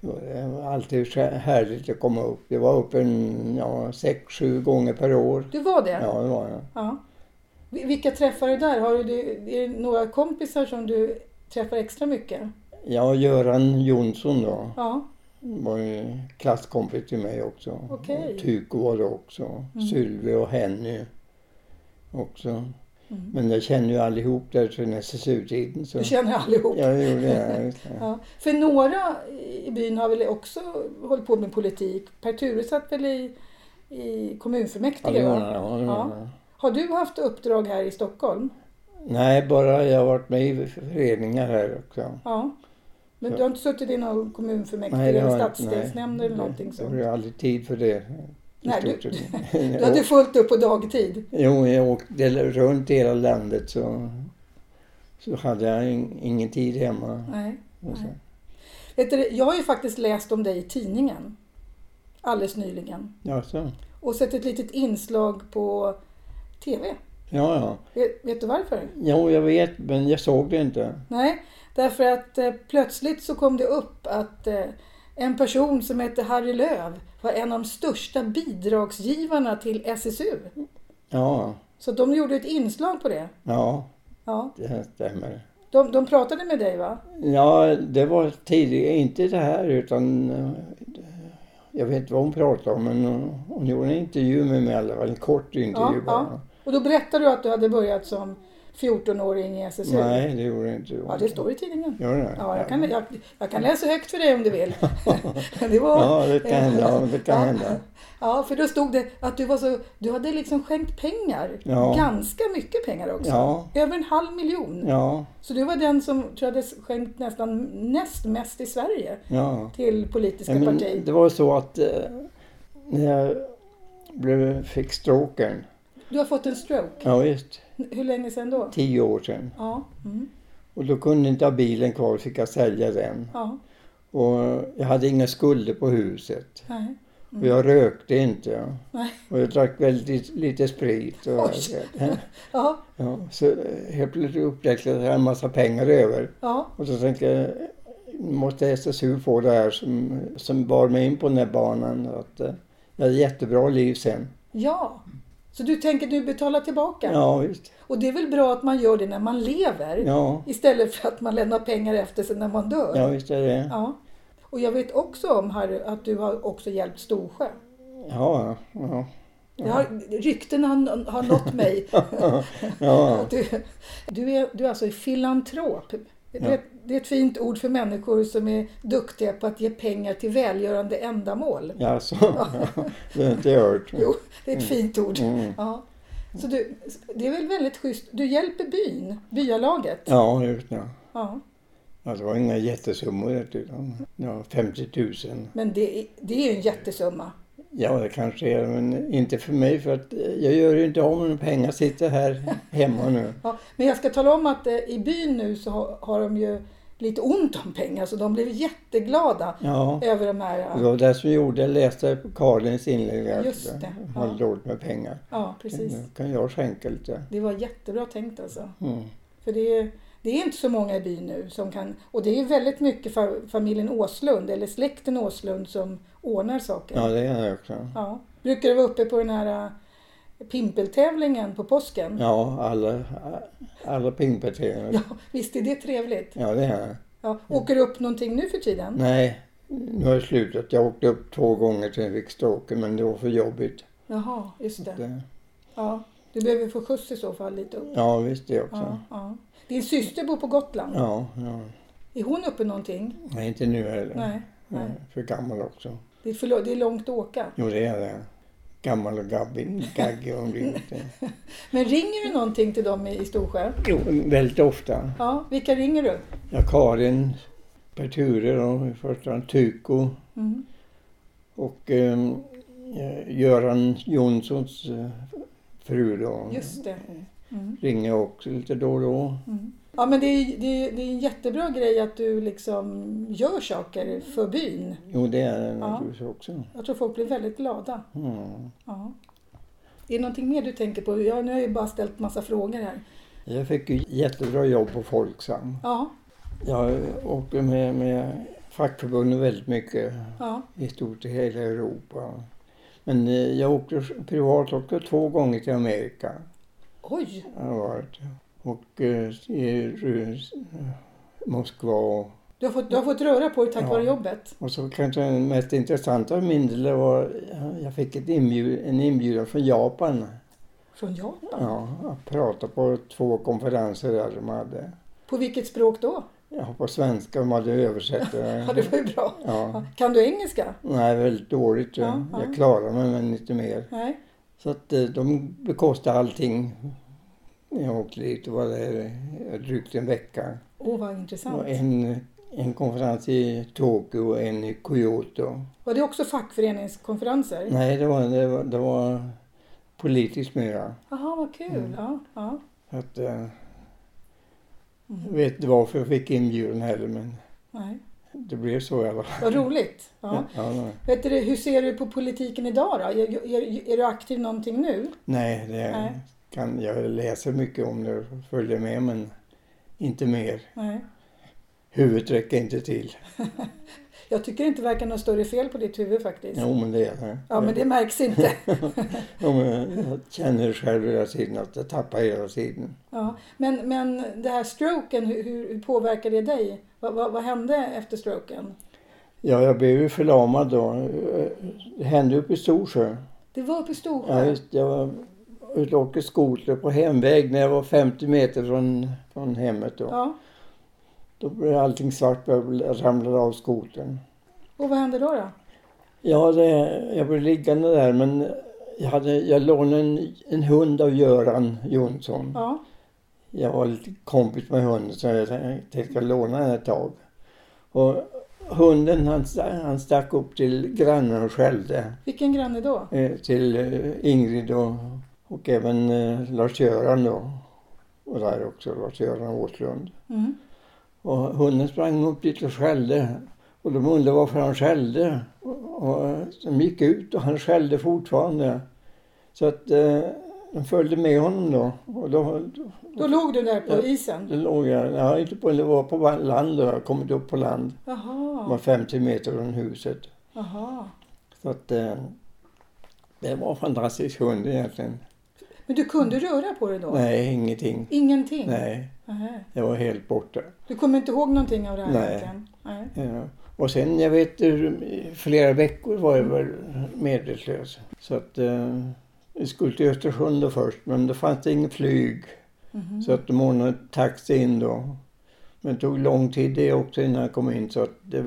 [SPEAKER 2] Det var alltid så härligt att komma upp. Det var upp en, ja, sex, sju gånger per år.
[SPEAKER 1] Du var det?
[SPEAKER 2] Ja, det var jag.
[SPEAKER 1] Ja. Vi- Vilka träffar du där? Har du, är det några kompisar som du träffar extra mycket?
[SPEAKER 2] Jag och Göran Jonsson då,
[SPEAKER 1] Ja,
[SPEAKER 2] var ju klasskompis till mig också.
[SPEAKER 1] Okej.
[SPEAKER 2] Och Tyko var det också.
[SPEAKER 1] Mm.
[SPEAKER 2] Sylvia och Henny också.
[SPEAKER 1] mm.
[SPEAKER 2] Men jag känner ju allihop där sedan SSU-tiden. Så.
[SPEAKER 1] du känner allihop.
[SPEAKER 2] Ja, det gjorde jag. just det.
[SPEAKER 1] Ja. För några i byn har väl också hållit på med politik. Per Ture satt väl i, i
[SPEAKER 2] Ja,
[SPEAKER 1] kommunfullmäktige?
[SPEAKER 2] det
[SPEAKER 1] va?
[SPEAKER 2] gjorde jag. Ja, det gjorde jag.
[SPEAKER 1] Har du haft uppdrag här i Stockholm?
[SPEAKER 2] Nej, bara jag har varit med i föreningar här också.
[SPEAKER 1] Ja. Men
[SPEAKER 2] Ja.
[SPEAKER 1] du har inte suttit i någon kommunfullmäktige
[SPEAKER 2] det
[SPEAKER 1] eller
[SPEAKER 2] har jag inte, nej.
[SPEAKER 1] stadsdelsnämnd eller någonting
[SPEAKER 2] Jag har
[SPEAKER 1] sånt?
[SPEAKER 2] ju aldrig tid för det. i
[SPEAKER 1] Nej, du-
[SPEAKER 2] stort sett.
[SPEAKER 1] Du hade fullt upp på dagtid?
[SPEAKER 2] Jo, jag åkte runt hela landet så, så hade jag in, ingen tid hemma.
[SPEAKER 1] Nej.
[SPEAKER 2] Och så.
[SPEAKER 1] Nej. Vet du, jag har ju faktiskt läst om dig i tidningen alldeles nyligen.
[SPEAKER 2] Ja, så.
[SPEAKER 1] Och sett ett litet inslag på TV.
[SPEAKER 2] ja, ja.
[SPEAKER 1] Vet, vet du varför?
[SPEAKER 2] Jo, jag vet, men jag såg det inte.
[SPEAKER 1] Nej, därför att eh, plötsligt så kom det upp att eh, en person som hette Harry Löv var en av de största bidragsgivarna till SSU.
[SPEAKER 2] Ja,
[SPEAKER 1] Så de gjorde ett inslag på det.
[SPEAKER 2] ja,
[SPEAKER 1] Ja,
[SPEAKER 2] det stämmer.
[SPEAKER 1] de, de pratade med dig va?
[SPEAKER 2] Ja, det var tidigare, inte det här utan eh, jag vet inte vad hon pratade om men hon- hon gjorde en intervju med mig i alla fall, en kort intervju
[SPEAKER 1] Ja,
[SPEAKER 2] bara.
[SPEAKER 1] Och då berättade du att du hade börjat som 14-åring i SSU.
[SPEAKER 2] Nej, det gjorde jag inte.
[SPEAKER 1] Ja, det står i tidningen.
[SPEAKER 2] Gör det?
[SPEAKER 1] Ja, jag kan, jag, jag kan läsa högt för dig om du vill. det var,
[SPEAKER 2] Ja, det kan hända. ja, Det kan
[SPEAKER 1] Ja.
[SPEAKER 2] hända.
[SPEAKER 1] Ja, för då stod det att du var så... Du hade liksom skänkt pengar.
[SPEAKER 2] Ja.
[SPEAKER 1] Ganska mycket pengar också.
[SPEAKER 2] Ja,
[SPEAKER 1] Över en halv miljon.
[SPEAKER 2] ja,
[SPEAKER 1] Så du var den som tror jag hade skänkt nästan näst mest i Sverige
[SPEAKER 2] ja.
[SPEAKER 1] till politiska
[SPEAKER 2] Nej, men
[SPEAKER 1] partier.
[SPEAKER 2] det var så att eh, när jag blev, fick stroken,
[SPEAKER 1] Du har fått en stroke.
[SPEAKER 2] ja visst,
[SPEAKER 1] Hur länge sedan då?
[SPEAKER 2] tio år sedan.
[SPEAKER 1] Ja. Mm.
[SPEAKER 2] Och då kunde jag inte ha bilen kvar, fick jag sälja den.
[SPEAKER 1] Ja.
[SPEAKER 2] Och jag hade inga skulder på huset.
[SPEAKER 1] Nej.
[SPEAKER 2] Och jag rökte inte.
[SPEAKER 1] Mm. Nej.
[SPEAKER 2] Och jag drack väldigt lite sprit. Och,
[SPEAKER 1] Oj. Ja.
[SPEAKER 2] ja, så eh, helt plötsligt upptäckte jag att jag hade en massa pengar över.
[SPEAKER 1] Ja.
[SPEAKER 2] Och så tänkte jag, måste SSU få det här som, som bar mig in på den här banan. Att, eh, jag hade jättebra liv sen.
[SPEAKER 1] Ja. Så du tänker nu betala tillbaka?
[SPEAKER 2] Ja, visst.
[SPEAKER 1] Och det är väl bra att man gör det när man lever?
[SPEAKER 2] Ja,
[SPEAKER 1] Istället för att man lämnar pengar efter sig när man dör?
[SPEAKER 2] ja visst är det.
[SPEAKER 1] Ja. Och jag vet också om Harry att du har också hjälpt Storsjö.
[SPEAKER 2] Ja, ja.
[SPEAKER 1] Jag har, ryktena har, har nått mig.
[SPEAKER 2] ja.
[SPEAKER 1] Att du, du, är, du är alltså filantrop. Det,
[SPEAKER 2] Ja.
[SPEAKER 1] är ett- det är ett fint ord för människor som är duktiga på att ge pengar till välgörande ändamål.
[SPEAKER 2] ja så. det har jag inte hört.
[SPEAKER 1] Jo, det är ett fint ord.
[SPEAKER 2] Mm.
[SPEAKER 1] Ja. Så du, det är väl väldigt schysst. Du hjälper byn, byalaget.
[SPEAKER 2] Ja, just det.
[SPEAKER 1] Ja.
[SPEAKER 2] Ja, det var inga jättesummor. utan, Ja, 50 000.
[SPEAKER 1] Men det, är- det är ju en jättesumma.
[SPEAKER 2] Ja, det kanske är men inte för mig för att eh, jag gör ju inte av med några pengar, sitter här hemma nu.
[SPEAKER 1] Ja, men jag ska tala om att eh, i byn nu så har, har de ju lite ont om pengar så de blev jätteglada
[SPEAKER 2] Ja,
[SPEAKER 1] över de här... eh,
[SPEAKER 2] det var det som gjorde, jag läste på Karlins inlägg att
[SPEAKER 1] Just det,
[SPEAKER 2] jag hade dåligt med pengar.
[SPEAKER 1] Ja, precis.
[SPEAKER 2] Nu kan jag skänka lite.
[SPEAKER 1] Det var jättebra tänkt alltså.
[SPEAKER 2] Mm.
[SPEAKER 1] För det är, det är inte så många i byn nu som kan... Och det är väldigt mycket fa- familjen Åslund eller släkten Åslund som ordnar saker.
[SPEAKER 2] Ja, det är jag också.
[SPEAKER 1] Ja. Brukar du vara uppe på den här eh, pimpeltävlingen på påsken?
[SPEAKER 2] Ja, alla, alla pingbeteenden.
[SPEAKER 1] Ja, visst är det trevligt?
[SPEAKER 2] Ja, det är jag.
[SPEAKER 1] Ja. Åker du upp någonting nu för tiden?
[SPEAKER 2] Nej, nu har jag slutat. Jag åkte upp två gånger till Vikståker men det var för jobbigt. eh,
[SPEAKER 1] Jaha, just det.
[SPEAKER 2] Det-
[SPEAKER 1] Ja. Du behöver få skjuts i så fall lite upp.
[SPEAKER 2] Ja, visst det också.
[SPEAKER 1] Ja, ja. Din syster bor på Gotland.
[SPEAKER 2] Ja, ja.
[SPEAKER 1] Är hon uppe någonting?
[SPEAKER 2] Nej, inte nu heller.
[SPEAKER 1] Nej.
[SPEAKER 2] Jag
[SPEAKER 1] nej.
[SPEAKER 2] är För gammal också.
[SPEAKER 1] Det, är förlo- det är långt att åka.
[SPEAKER 2] Jo, det är det. Gammal och gabbig. Gaggig och inte.
[SPEAKER 1] Men ringer du någonting till dem i, i Storsjö?
[SPEAKER 2] Jo, väldigt ofta.
[SPEAKER 1] Ja, vilka ringer du?
[SPEAKER 2] Ja, Karin, Perture då, i första hand, Tyko
[SPEAKER 1] Mm.
[SPEAKER 2] och eh, Göran Jonssons eh, fru då.
[SPEAKER 1] Just det. Mm.
[SPEAKER 2] Ringer jag också lite då och då.
[SPEAKER 1] Mm. Ja, men det är, det, är, det är en jättebra grej att du liksom gör saker för byn.
[SPEAKER 2] Jo, det är det naturligtvis också.
[SPEAKER 1] Jag tror folk blir väldigt glada.
[SPEAKER 2] Mm.
[SPEAKER 1] Ja. Är det någonting mer du tänker på? Ja, nu har jag ju bara ställt massa frågor här.
[SPEAKER 2] Jag fick ju jättebra jobb på Folksam.
[SPEAKER 1] Ja,
[SPEAKER 2] Jag åker med, med fackförbunden väldigt mycket
[SPEAKER 1] ja,
[SPEAKER 2] i stort sett hela Europa. Men eh, jag åkte privat också två gånger till Amerika.
[SPEAKER 1] oj,
[SPEAKER 2] har jag varit. Och eh, i Rus- Moskva.
[SPEAKER 1] du har fått, du har fått röra på dig tack
[SPEAKER 2] Ja.
[SPEAKER 1] vare jobbet.
[SPEAKER 2] Och så kanske den mest intressanta av min del var jag fick ett inbjud, en inbjudan från Japan.
[SPEAKER 1] Från Japan?
[SPEAKER 2] Ja, att prata på två konferenser där de hade.
[SPEAKER 1] På vilket språk då?
[SPEAKER 2] Ja, på svenska, de hade översatt
[SPEAKER 1] Ja, det var ju bra.
[SPEAKER 2] Ja.
[SPEAKER 1] Ja. Kan du engelska?
[SPEAKER 2] Nej, väldigt dåligt.
[SPEAKER 1] Ja, ja.
[SPEAKER 2] Jag klarar mig, men inte mer.
[SPEAKER 1] Nej.
[SPEAKER 2] Så att eh, de bekostade allting. Jag åkte dit och var där eh, drygt en vecka.
[SPEAKER 1] Åh, vad
[SPEAKER 2] Det
[SPEAKER 1] intressant.
[SPEAKER 2] var en, en konferens i Tokyo och en i Kyoto.
[SPEAKER 1] Var det också fackföreningskonferenser?
[SPEAKER 2] Nej, det var, det var, det var politiskt mera.
[SPEAKER 1] Jaha, vad kul.
[SPEAKER 2] Mm.
[SPEAKER 1] Ja, ja.
[SPEAKER 2] För Att, eh, jag
[SPEAKER 1] Mm.
[SPEAKER 2] vet inte varför jag fick inbjudan heller, men
[SPEAKER 1] Nej.
[SPEAKER 2] det blev så i alla fall.
[SPEAKER 1] Vad roligt. Ja.
[SPEAKER 2] Ja. Ja,
[SPEAKER 1] Vet du, hur ser du på politiken idag då? Är, är, är du aktiv någonting nu?
[SPEAKER 2] nej, det
[SPEAKER 1] Nej.
[SPEAKER 2] Kan, jag läser mycket om det och följer med, men inte mer.
[SPEAKER 1] Nej.
[SPEAKER 2] Huvudet räcker inte till.
[SPEAKER 1] Jag tycker det inte verkar något större fel på ditt huvud faktiskt.
[SPEAKER 2] Jo, men det är det.
[SPEAKER 1] Ja, men det märks inte.
[SPEAKER 2] Jo, men jag känner själv hela tiden att jag tappar hela tiden.
[SPEAKER 1] Ja, men, men det här stroken, hur, hur hur påverkar det dig? Vad, vad, vad hände efter stroken?
[SPEAKER 2] Ja, jag blev ju förlamad då. Det hände uppe i Storsjö.
[SPEAKER 1] Det var uppe i
[SPEAKER 2] Ja,
[SPEAKER 1] Storsjö?
[SPEAKER 2] just, det. jag var ute och åkte skoter på hemväg när jag var 50 meter från, från hemmet. Då.
[SPEAKER 1] ja.
[SPEAKER 2] då blev allting svart och jag ramlade av skotern.
[SPEAKER 1] Och vad hände då? då?
[SPEAKER 2] Ja, det, jag blev liggande där men jag, hade, jag lånade en, en hund av Göran Jonsson.
[SPEAKER 1] Ja.
[SPEAKER 2] Jag var lite kompis med hunden så jag tänkte jag ska låna den ett tag. Och hunden han, sta- han stack upp till grannen och skällde.
[SPEAKER 1] Vilken granne då?
[SPEAKER 2] eh, till eh, Ingrid och, och även eh, Lars-Göran då. Och där också Lars-Göran Åslund.
[SPEAKER 1] Mm.
[SPEAKER 2] Och hunden sprang upp dit och skällde. Och de undrade varför han skällde. Och, och de gick ut och han skällde fortfarande. Så att eh, de följde med honom då. Och då,
[SPEAKER 1] Då låg du där på
[SPEAKER 2] Ja.
[SPEAKER 1] isen?
[SPEAKER 2] då låg jag, jag inte på, det var på land då, jag hade kommit upp på land. Det var
[SPEAKER 1] Jaha.
[SPEAKER 2] 50 meter från huset.
[SPEAKER 1] Jaha.
[SPEAKER 2] Så att eh, det var en fantastisk hund egentligen.
[SPEAKER 1] Men du kunde röra på dig då?
[SPEAKER 2] Mm. Nej, ingenting.
[SPEAKER 1] Ingenting?
[SPEAKER 2] Nej,
[SPEAKER 1] Nej.
[SPEAKER 2] jag var helt borta.
[SPEAKER 1] Du kommer inte ihåg någonting av det här
[SPEAKER 2] Nej.
[SPEAKER 1] egentligen? Nej.
[SPEAKER 2] Ja. Och sen, jag vet, i flera veckor var jag väl medvetslös. Så att eh, vi skulle till Östersund då först, men då fanns det inget flyg.
[SPEAKER 1] Mhm.
[SPEAKER 2] Så att de ordnade taxi in då. Men det tog lång tid det också innan jag kom in, så att det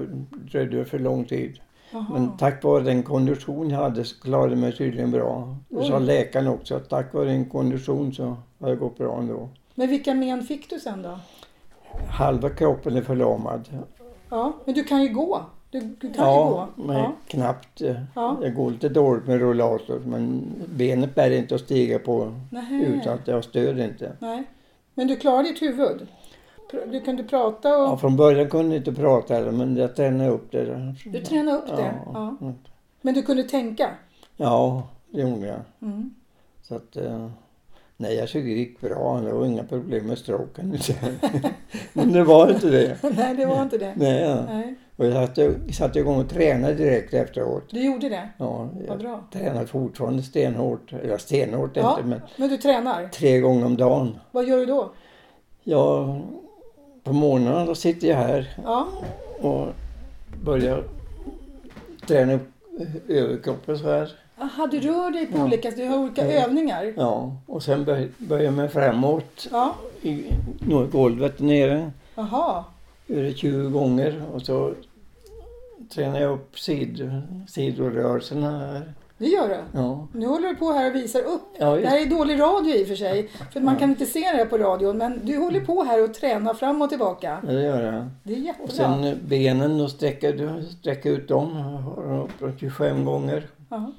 [SPEAKER 2] dröjde för lång tid.
[SPEAKER 1] Jaha.
[SPEAKER 2] Men tack vare den kondition jag hade så klarade jag mig tydligen bra. Det sa
[SPEAKER 1] Oj.
[SPEAKER 2] läkaren också, att tack vare din kondition så har det gått bra ändå.
[SPEAKER 1] Men vilka men fick du sen då?
[SPEAKER 2] Halva kroppen är förlamad.
[SPEAKER 1] Ja, men du kan ju gå. Du, du kan
[SPEAKER 2] Ja,
[SPEAKER 1] ju gå.
[SPEAKER 2] men
[SPEAKER 1] Ja.
[SPEAKER 2] knappt. eh,
[SPEAKER 1] Ja.
[SPEAKER 2] Det går lite dåligt med rollator men benet bär inte att stiga på
[SPEAKER 1] Nähä.
[SPEAKER 2] utan att jag stöd inte.
[SPEAKER 1] Nej. Men du klarar ditt huvud? Pr- Du kunde prata och...
[SPEAKER 2] Ja, från början kunde jag inte prata heller men jag tränade upp det. där.
[SPEAKER 1] Du tränade upp det? Ja.
[SPEAKER 2] Ja, mm.
[SPEAKER 1] Men du kunde tänka?
[SPEAKER 2] ja det gjorde jag.
[SPEAKER 1] Mm.
[SPEAKER 2] Så att, eh, nej, jag tycker det gick bra. Det var inga problem med stråken. men det var inte det.
[SPEAKER 1] Nej, det var inte det.
[SPEAKER 2] Nej, ja.
[SPEAKER 1] Nej.
[SPEAKER 2] och jag satte, satte igång och tränade direkt efteråt.
[SPEAKER 1] Du gjorde det?
[SPEAKER 2] Ja,
[SPEAKER 1] Vad
[SPEAKER 2] jag
[SPEAKER 1] bra.
[SPEAKER 2] tränar fortfarande stenhårt. Eller stenhårt
[SPEAKER 1] Ja.
[SPEAKER 2] inte, men
[SPEAKER 1] Men du tränar?
[SPEAKER 2] tre gånger om dagen.
[SPEAKER 1] Vad gör du då?
[SPEAKER 2] Jag, på morgonen då sitter jag här
[SPEAKER 1] Ja.
[SPEAKER 2] och börjar träna upp eh, överkroppen så här.
[SPEAKER 1] Aha, du rör dig på
[SPEAKER 2] Ja.
[SPEAKER 1] olika... Du har olika
[SPEAKER 2] Ja.
[SPEAKER 1] övningar?
[SPEAKER 2] Ja, och sen böj- böjer jag mig framåt
[SPEAKER 1] Ja.
[SPEAKER 2] i nå- golvet nere.
[SPEAKER 1] Jaha.
[SPEAKER 2] Gör det 20 gånger och så tränar jag upp sid, sidorörelserna här.
[SPEAKER 1] Det gör du?
[SPEAKER 2] Ja.
[SPEAKER 1] Nu håller du på här och visar upp.
[SPEAKER 2] Ja,
[SPEAKER 1] Det
[SPEAKER 2] just,
[SPEAKER 1] här är dålig radio i och för sig. För man kan inte se det här på radion. Men du håller på här och tränar fram och tillbaka.
[SPEAKER 2] ja, det gör jag.
[SPEAKER 1] Det är
[SPEAKER 2] Och
[SPEAKER 1] jättebra.
[SPEAKER 2] sen eh, benen, då sträcker du sträcker ut dem. Jag har dem upp 25 gånger.
[SPEAKER 1] Ja.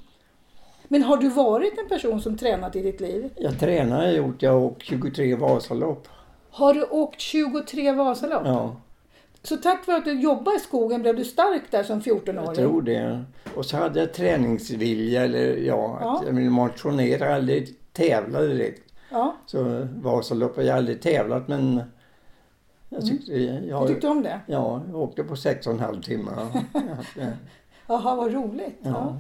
[SPEAKER 1] Men har du varit en person som tränat i ditt liv?
[SPEAKER 2] Jag tränar har jag gjort, jag har åkt 23 Vasalopp.
[SPEAKER 1] Har du åkt 23 Vasalopp?
[SPEAKER 2] Ja,
[SPEAKER 1] Så tack vare att du jobbade i skogen blev du stark där som 14-åring?
[SPEAKER 2] jag tror det. Och så hade jag träningsvilja, eller ja,
[SPEAKER 1] Ja.
[SPEAKER 2] att jag ville motionera. Jag aldrig tävla direkt.
[SPEAKER 1] Ja,
[SPEAKER 2] Så Vasalopp har jag aldrig tävlat men jag tyckte,
[SPEAKER 1] du
[SPEAKER 2] jag,
[SPEAKER 1] tyckte om det?
[SPEAKER 2] ja, jag åkte på sex och en halv timme. Ja, eh, ja,
[SPEAKER 1] Jaha, vad roligt. Ja.
[SPEAKER 2] ja.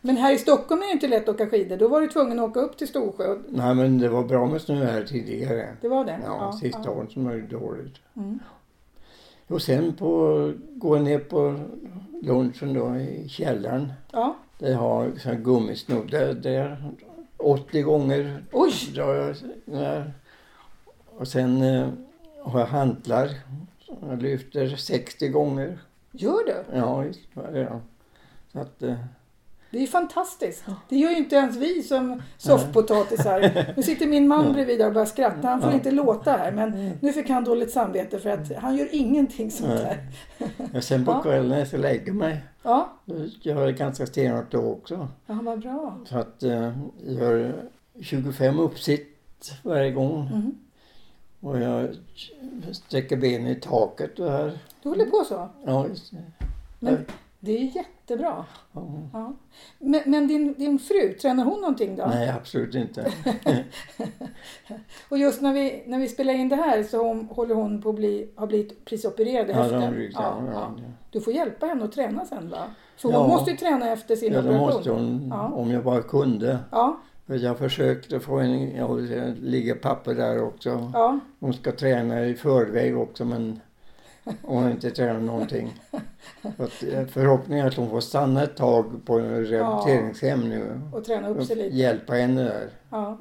[SPEAKER 1] Men här i Stockholm är det inte lätt att åka skidor. Då var du tvungen att åka upp till Storsjö. och-
[SPEAKER 2] Nej men det var bra med snö här tidigare.
[SPEAKER 1] Det var det?
[SPEAKER 2] Ja, sista
[SPEAKER 1] ja.
[SPEAKER 2] året som var det dåligt.
[SPEAKER 1] Mm.
[SPEAKER 2] Och sen på, går jag ner på lunchen då i källaren.
[SPEAKER 1] ja.
[SPEAKER 2] Där jag har sån här gummisnoddar där. 80 gånger
[SPEAKER 1] Oj!
[SPEAKER 2] drar jag där. Och sen eh, har jag hantlar. som Jag lyfter 60 gånger.
[SPEAKER 1] Gör du?
[SPEAKER 2] Ja, visst. Ja, ja. Så att, eh,
[SPEAKER 1] Det är ju fantastiskt. Det gör ju inte ens vi som soffpotatisar. Nu sitter min man bredvid där och börjar skratta. Han får
[SPEAKER 2] Ja. Mm.
[SPEAKER 1] inte låta här men nu fick han dåligt samvete för att han gör ingenting sånt
[SPEAKER 2] Nej.
[SPEAKER 1] där.
[SPEAKER 2] och sen på
[SPEAKER 1] Ja.
[SPEAKER 2] kvällen när jag ska lägga mig,
[SPEAKER 1] Ja,
[SPEAKER 2] då gör jag det ganska stenhårt då också.
[SPEAKER 1] ja vad bra.
[SPEAKER 2] Så att eh, jag gör 25 uppsitt varje gång.
[SPEAKER 1] Mm.
[SPEAKER 2] Och jag sträcker benen i taket och här.
[SPEAKER 1] Du håller på så.
[SPEAKER 2] Ja, visst.
[SPEAKER 1] Men det är ju jättebra.
[SPEAKER 2] Ja.
[SPEAKER 1] Ja. Men, men din, din fru, tränar hon någonting då?
[SPEAKER 2] Nej, absolut inte.
[SPEAKER 1] Och just när vi, när vi spelar in det här så hon, håller hon på att bli, har blivit prisopererad i
[SPEAKER 2] Ja, de
[SPEAKER 1] höften.
[SPEAKER 2] brukar, ja, ja.
[SPEAKER 1] Du får hjälpa henne att träna sen va? För hon
[SPEAKER 2] Ja.
[SPEAKER 1] måste ju träna efter sin
[SPEAKER 2] ja, då
[SPEAKER 1] operation.
[SPEAKER 2] måste hon,
[SPEAKER 1] Ja.
[SPEAKER 2] om jag bara kunde.
[SPEAKER 1] Ja,
[SPEAKER 2] För Jag försökte få en, ja, det ligger papper där också.
[SPEAKER 1] ja.
[SPEAKER 2] Hon ska träna i förväg också men hon har inte tränat någonting. Så att, eh, Förhoppningen är att hon får stanna ett tag på en rehabiliteringshem nu.
[SPEAKER 1] Och träna upp
[SPEAKER 2] Och
[SPEAKER 1] sig lite.
[SPEAKER 2] hjälpa henne där.
[SPEAKER 1] Ja.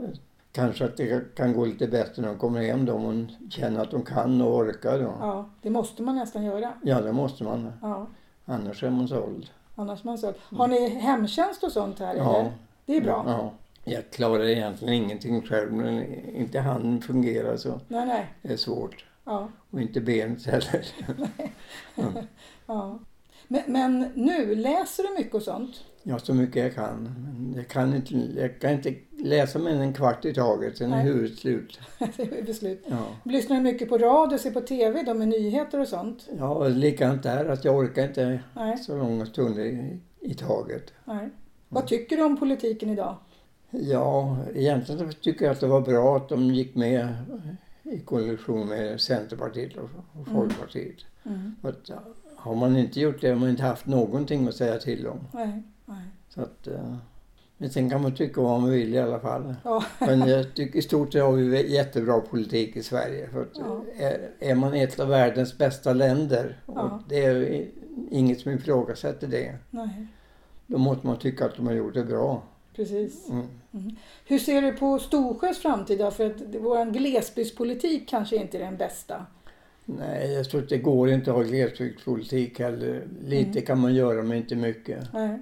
[SPEAKER 2] Kanske att det kan gå lite bättre när hon kommer hem då om hon känner att hon kan och orkar då.
[SPEAKER 1] ja, det måste man nästan göra.
[SPEAKER 2] Ja, det måste man.
[SPEAKER 1] Ja.
[SPEAKER 2] Annars är man såld.
[SPEAKER 1] Annars man så. Har ni hemtjänst och sånt här
[SPEAKER 2] Ja,
[SPEAKER 1] eller? Det är bra.
[SPEAKER 2] ja. Jag klarar egentligen ingenting själv men inte handen fungerar så
[SPEAKER 1] Nej, nej.
[SPEAKER 2] det är svårt.
[SPEAKER 1] Ja,
[SPEAKER 2] Och inte benet heller.
[SPEAKER 1] ja. Men, men nu, läser du mycket och sånt?
[SPEAKER 2] Ja, så mycket jag kan. Men Jag kan inte, jag kan inte läsa mer än en kvart i taget, sen är
[SPEAKER 1] Nej.
[SPEAKER 2] huvudet slut.
[SPEAKER 1] Det är beslut.
[SPEAKER 2] Ja.
[SPEAKER 1] Lyssnar du mycket på radio, ser på TV då med nyheter och sånt?
[SPEAKER 2] ja, och likadant där, att jag orkar inte
[SPEAKER 1] Nej,
[SPEAKER 2] så långa stunder i, i taget.
[SPEAKER 1] nej. Vad tycker du om politiken idag?
[SPEAKER 2] Ja, egentligen så tycker jag att det var bra att de gick med i koalition med Centerpartiet och och Folkpartiet.
[SPEAKER 1] Mm.
[SPEAKER 2] För att, har man inte gjort det har man inte haft någonting att säga till om.
[SPEAKER 1] Nej, nej.
[SPEAKER 2] Så att, eh, men sen kan man tycka vad man vill i alla fall.
[SPEAKER 1] Ja,
[SPEAKER 2] Men jag tycker i stort sett har vi jättebra politik i Sverige. För att
[SPEAKER 1] Ja.
[SPEAKER 2] är, är man ett av världens bästa länder och
[SPEAKER 1] Ja.
[SPEAKER 2] det är i- inget som ifrågasätter det.
[SPEAKER 1] nej.
[SPEAKER 2] Då måste man tycka att de har gjort det bra.
[SPEAKER 1] Precis.
[SPEAKER 2] Mm.
[SPEAKER 1] Hur ser du på Storsjös framtid då? För att vår glesbygdspolitik kanske inte är den bästa.
[SPEAKER 2] Nej, jag tror att det går inte att ha glesbygdspolitik heller. Lite
[SPEAKER 1] Mm.
[SPEAKER 2] kan man göra men inte mycket.
[SPEAKER 1] Nej.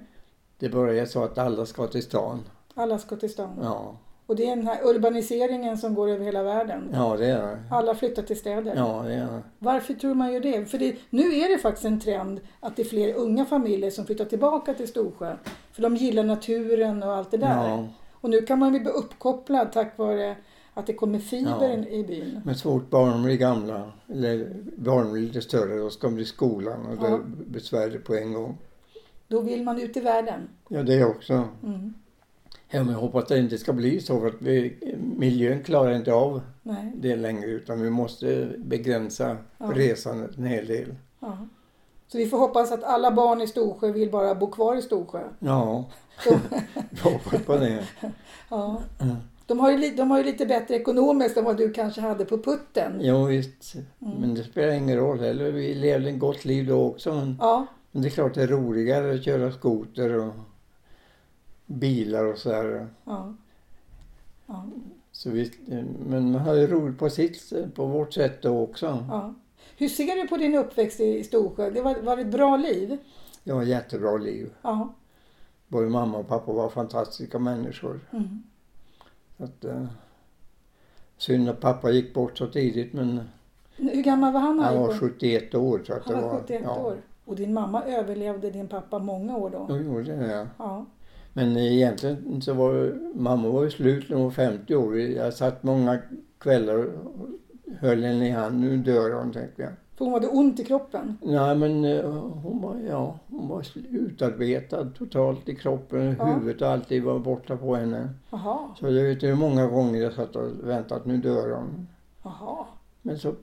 [SPEAKER 2] Det bara är så att alla ska till stan.
[SPEAKER 1] Alla ska till stan.
[SPEAKER 2] Ja.
[SPEAKER 1] Och det är den här urbaniseringen som går över hela världen.
[SPEAKER 2] Ja, det är det.
[SPEAKER 1] Alla flyttar till städer.
[SPEAKER 2] Ja, det är det.
[SPEAKER 1] Varför tror man ju det? För det, nu är det faktiskt en trend att det är fler unga familjer som flyttar tillbaka till Storsjö. För de gillar naturen och allt det där.
[SPEAKER 2] Ja.
[SPEAKER 1] Och nu kan man ju bli uppkopplad tack vare att det kommer fiber
[SPEAKER 2] Ja.
[SPEAKER 1] i byn.
[SPEAKER 2] Men så fort barnen blir gamla, eller barnen blir lite större, då ska de till skolan och
[SPEAKER 1] Ja.
[SPEAKER 2] det blir Sverige på en gång.
[SPEAKER 1] Då vill man ut i världen.
[SPEAKER 2] Ja, det också.
[SPEAKER 1] Mm.
[SPEAKER 2] Ja, men jag hoppas att det inte ska bli så för att vi, miljön klarar inte av
[SPEAKER 1] Nej.
[SPEAKER 2] det längre utan vi måste begränsa
[SPEAKER 1] Ja.
[SPEAKER 2] resandet en hel del.
[SPEAKER 1] Ja. Så vi får hoppas att alla barn i Storsjö vill bara bo kvar i Storsjö.
[SPEAKER 2] Ja, jag hoppas på det.
[SPEAKER 1] Ja.
[SPEAKER 2] Mm.
[SPEAKER 1] De, har ju, li- de har ju lite bättre ekonomiskt än vad du kanske hade på putten.
[SPEAKER 2] Jo, visst.
[SPEAKER 1] Mm.
[SPEAKER 2] Men det spelar ingen roll heller. Vi levde ett gott liv då också. Men,
[SPEAKER 1] Ja,
[SPEAKER 2] men det är klart det är roligare att köra skoter och bilar och sådär.
[SPEAKER 1] ja. ja,
[SPEAKER 2] Så visst, men man har ju roligt på sitt, på vårt sätt då också.
[SPEAKER 1] ja. Hur ser du på din uppväxt i i Storsjö? Det var, var det ett bra liv?
[SPEAKER 2] Jag har ett jättebra liv.
[SPEAKER 1] Ja.
[SPEAKER 2] Både mamma och pappa var fantastiska människor.
[SPEAKER 1] Mm.
[SPEAKER 2] Så Att, eh, synd att pappa gick bort så tidigt men
[SPEAKER 1] Hur gammal var han? när
[SPEAKER 2] han
[SPEAKER 1] gick
[SPEAKER 2] var
[SPEAKER 1] bort?
[SPEAKER 2] 71 år. Så att
[SPEAKER 1] han
[SPEAKER 2] det
[SPEAKER 1] var 71
[SPEAKER 2] ja.
[SPEAKER 1] år. Och din mamma överlevde din pappa många år då?
[SPEAKER 2] De gjorde det. ja.
[SPEAKER 1] Ja.
[SPEAKER 2] Men egentligen så var mamma var ju slut när hon var 50 år. Jag satt många kvällar och höll henne i hand. Nu dör hon tänkte jag.
[SPEAKER 1] För hon hade ont i kroppen?
[SPEAKER 2] Nej men eh, hon var, ja, hon var utarbetad totalt i kroppen.
[SPEAKER 1] Ja.
[SPEAKER 2] Huvudet och alltid var borta på henne.
[SPEAKER 1] Jaha.
[SPEAKER 2] Så jag vet inte hur många gånger jag satt och väntade att nu dör hon.
[SPEAKER 1] Jaha.
[SPEAKER 2] Men så,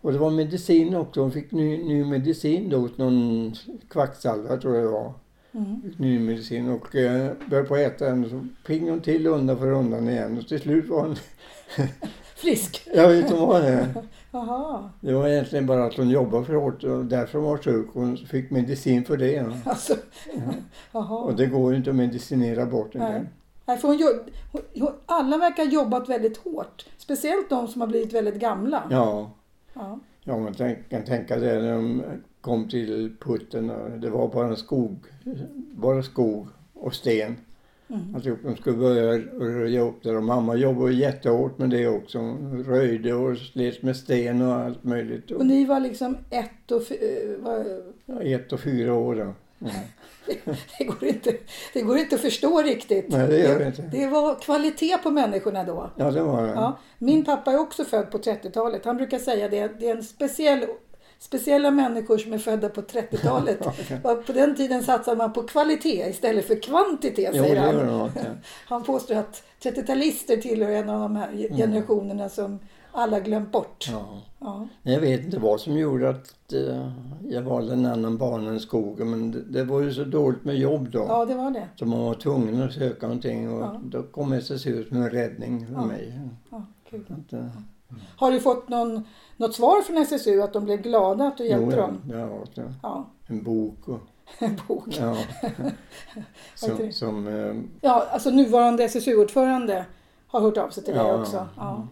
[SPEAKER 2] och det var medicin också. Hon fick ny, ny medicin då åt någon kvacksalvare tror jag det var.
[SPEAKER 1] Mm.
[SPEAKER 2] Fick ny medicin och eh, började på att äta den. Så ping hon till undan för undan igen. Och till slut var hon,
[SPEAKER 1] Frisk?
[SPEAKER 2] jag vet inte vad det är.
[SPEAKER 1] Jaha.
[SPEAKER 2] Det var egentligen bara att hon jobbade för hårt och därför hon var sjuk. Hon fick medicin för det. ja.
[SPEAKER 1] Alltså. Jaha.
[SPEAKER 2] Mm. Och det går ju inte att medicinera bort den.
[SPEAKER 1] Nej.
[SPEAKER 2] där.
[SPEAKER 1] Nej, för hon, jo- hon, hon, alla verkar ha jobbat väldigt hårt. Speciellt de som har blivit väldigt gamla.
[SPEAKER 2] Ja.
[SPEAKER 1] Ja.
[SPEAKER 2] Ja, man tänk, kan tänka det när de kom till putten. Och det var bara skog, bara skog och sten.
[SPEAKER 1] Mm.
[SPEAKER 2] Alltihop. De skulle börja röja upp där och mamma jobbade jättehårt med det också. Hon röjde och slet med sten och allt möjligt. Och
[SPEAKER 1] Och ni var liksom ett och... fy- eh, vad-
[SPEAKER 2] ett och fyra år då. Mm.
[SPEAKER 1] Det går, inte, det går inte att förstå riktigt.
[SPEAKER 2] Nej, det gör det inte.
[SPEAKER 1] Det var kvalitet på människorna då.
[SPEAKER 2] Ja, det var det.
[SPEAKER 1] Ja. Min pappa är också född på 30-talet. Han brukar säga det. Det är en speciell, speciella människor som är födda på 30-talet. Och På den tiden satsade man på kvalitet istället för kvantitet,
[SPEAKER 2] Jo, det
[SPEAKER 1] säger han.
[SPEAKER 2] gör det nog. ja.
[SPEAKER 1] Han påstår att 30-talister tillhör en av de här ge- generationerna som alla glömt bort.
[SPEAKER 2] Mm. Ja.
[SPEAKER 1] Ja.
[SPEAKER 2] Nej, Jag vet inte vad som gjorde att eh, jag valde en annan bana än skogen. Men det, det var ju så dåligt med jobb då.
[SPEAKER 1] ja, det var det.
[SPEAKER 2] Så man var tvungen att söka någonting och
[SPEAKER 1] Ja.
[SPEAKER 2] då kom SSU som en räddning för
[SPEAKER 1] Ja.
[SPEAKER 2] mig.
[SPEAKER 1] Ja, kul.
[SPEAKER 2] Så Att, eh,
[SPEAKER 1] Har du fått någon, något svar från SSU att de blev glada att du hjälpte
[SPEAKER 2] jo,
[SPEAKER 1] dem?
[SPEAKER 2] Ja, det har jag också.
[SPEAKER 1] Ja,
[SPEAKER 2] en bok och...
[SPEAKER 1] en bok.
[SPEAKER 2] Ja.
[SPEAKER 1] heter
[SPEAKER 2] som,
[SPEAKER 1] det?
[SPEAKER 2] som, eh,
[SPEAKER 1] Ja, alltså nuvarande SSU-ordförande har hört av sig till dig
[SPEAKER 2] Ja,
[SPEAKER 1] också.
[SPEAKER 2] ja.
[SPEAKER 1] Ja,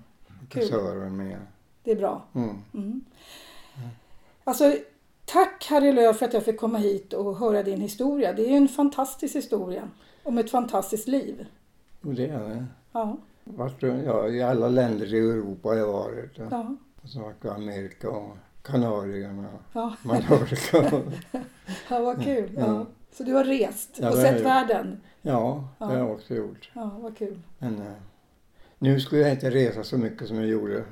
[SPEAKER 1] Kul.
[SPEAKER 2] kassören med.
[SPEAKER 1] det är bra.
[SPEAKER 2] Mm.
[SPEAKER 1] Mm. Alltså, tack Harry Lööf för att jag fick komma hit och höra din historia. Det är ju en fantastisk historia om ett fantastiskt liv.
[SPEAKER 2] Och det är det.
[SPEAKER 1] Ja,
[SPEAKER 2] Vart, ja, I alla länder i Europa har jag varit. Ja.
[SPEAKER 1] ja,
[SPEAKER 2] Och så vart det Amerika och Kanarieöarna och
[SPEAKER 1] ja.
[SPEAKER 2] Mallorca. och-
[SPEAKER 1] Ja, vad kul.
[SPEAKER 2] Ja.
[SPEAKER 1] Ja. Så du har rest
[SPEAKER 2] Mm. Ja,
[SPEAKER 1] och
[SPEAKER 2] det har
[SPEAKER 1] sett
[SPEAKER 2] jag
[SPEAKER 1] världen.
[SPEAKER 2] Ja, det
[SPEAKER 1] Ja.
[SPEAKER 2] har jag också gjort.
[SPEAKER 1] Ja, vad kul.
[SPEAKER 2] Men eh, nu skulle jag inte resa så mycket som jag gjorde.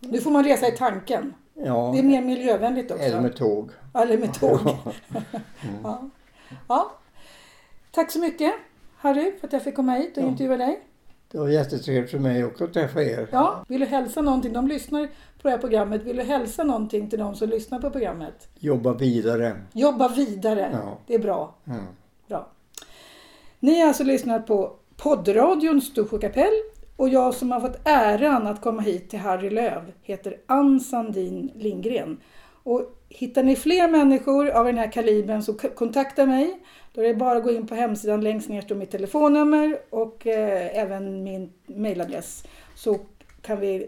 [SPEAKER 1] Nu får man resa i tanken.
[SPEAKER 2] Mm. Ja,
[SPEAKER 1] Det är mer miljövänligt också.
[SPEAKER 2] eller med tåg.
[SPEAKER 1] Eller med tåg. Ja. Ja. Tack så mycket Harry för att jag fick komma hit och
[SPEAKER 2] Ja.
[SPEAKER 1] intervjua dig.
[SPEAKER 2] Det var jättetrevligt för mig också att träffa er.
[SPEAKER 1] Ja. Vill du hälsa någonting? De lyssnar på det här programmet. Vill du hälsa någonting till de som lyssnar på programmet?
[SPEAKER 2] Jobba vidare. Mm.
[SPEAKER 1] Jobba vidare.
[SPEAKER 2] Ja.
[SPEAKER 1] Det är bra.
[SPEAKER 2] Ja.
[SPEAKER 1] Bra. Ni har alltså lyssnat på poddradion Storsjö kapell och jag som har fått äran att komma hit till Harry Löv heter Ann Sandin Lindgren. Och hittar ni fler människor av den här kalibern så k- kontakta mig. Då är det bara att gå in på hemsidan längst ner står mitt telefonnummer och eh, även min mailadress så kan vi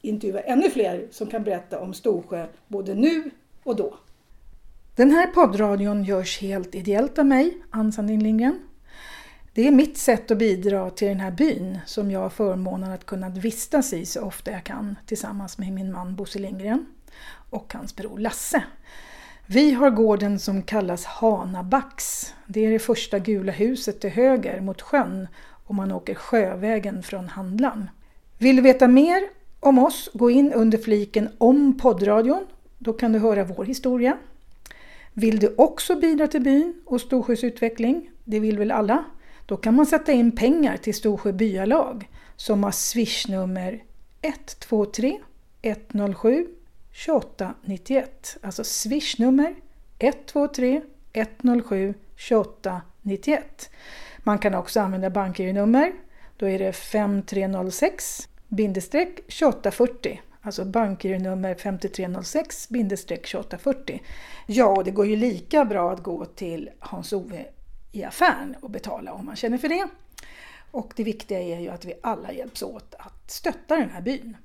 [SPEAKER 1] intervjua ännu fler som kan berätta om Storsjö både nu och då. Den här poddradion görs helt ideellt av mig, Ann Sandin Lindgren. det är mitt sätt att bidra till den här byn som jag har förmånen att kunna vistas i så ofta jag kan tillsammans med min man Bosse Lindgren och hans bror Lasse. Vi har gården som kallas Hanabacks. Det är det första gula huset till höger mot sjön om man åker sjövägen från Handlarn. Vill du veta mer om oss, gå in under fliken om poddradion. Då kan du höra vår historia. Vill du också bidra till byn och Storsjös utveckling? Det vill väl alla? Då kan man sätta in pengar till Storsjö byalag som har swishnummer 123 107 2891. Alltså swishnummer 123 107 2891. Man kan också använda bankgironummer. Då är det 5306 2840. Alltså bankgironummer 5306 2840. Ja, och det går ju lika bra att gå till Hans-Ove i affären och betala om man känner för det. Och det viktiga är ju att vi alla hjälps åt att stötta den här byn.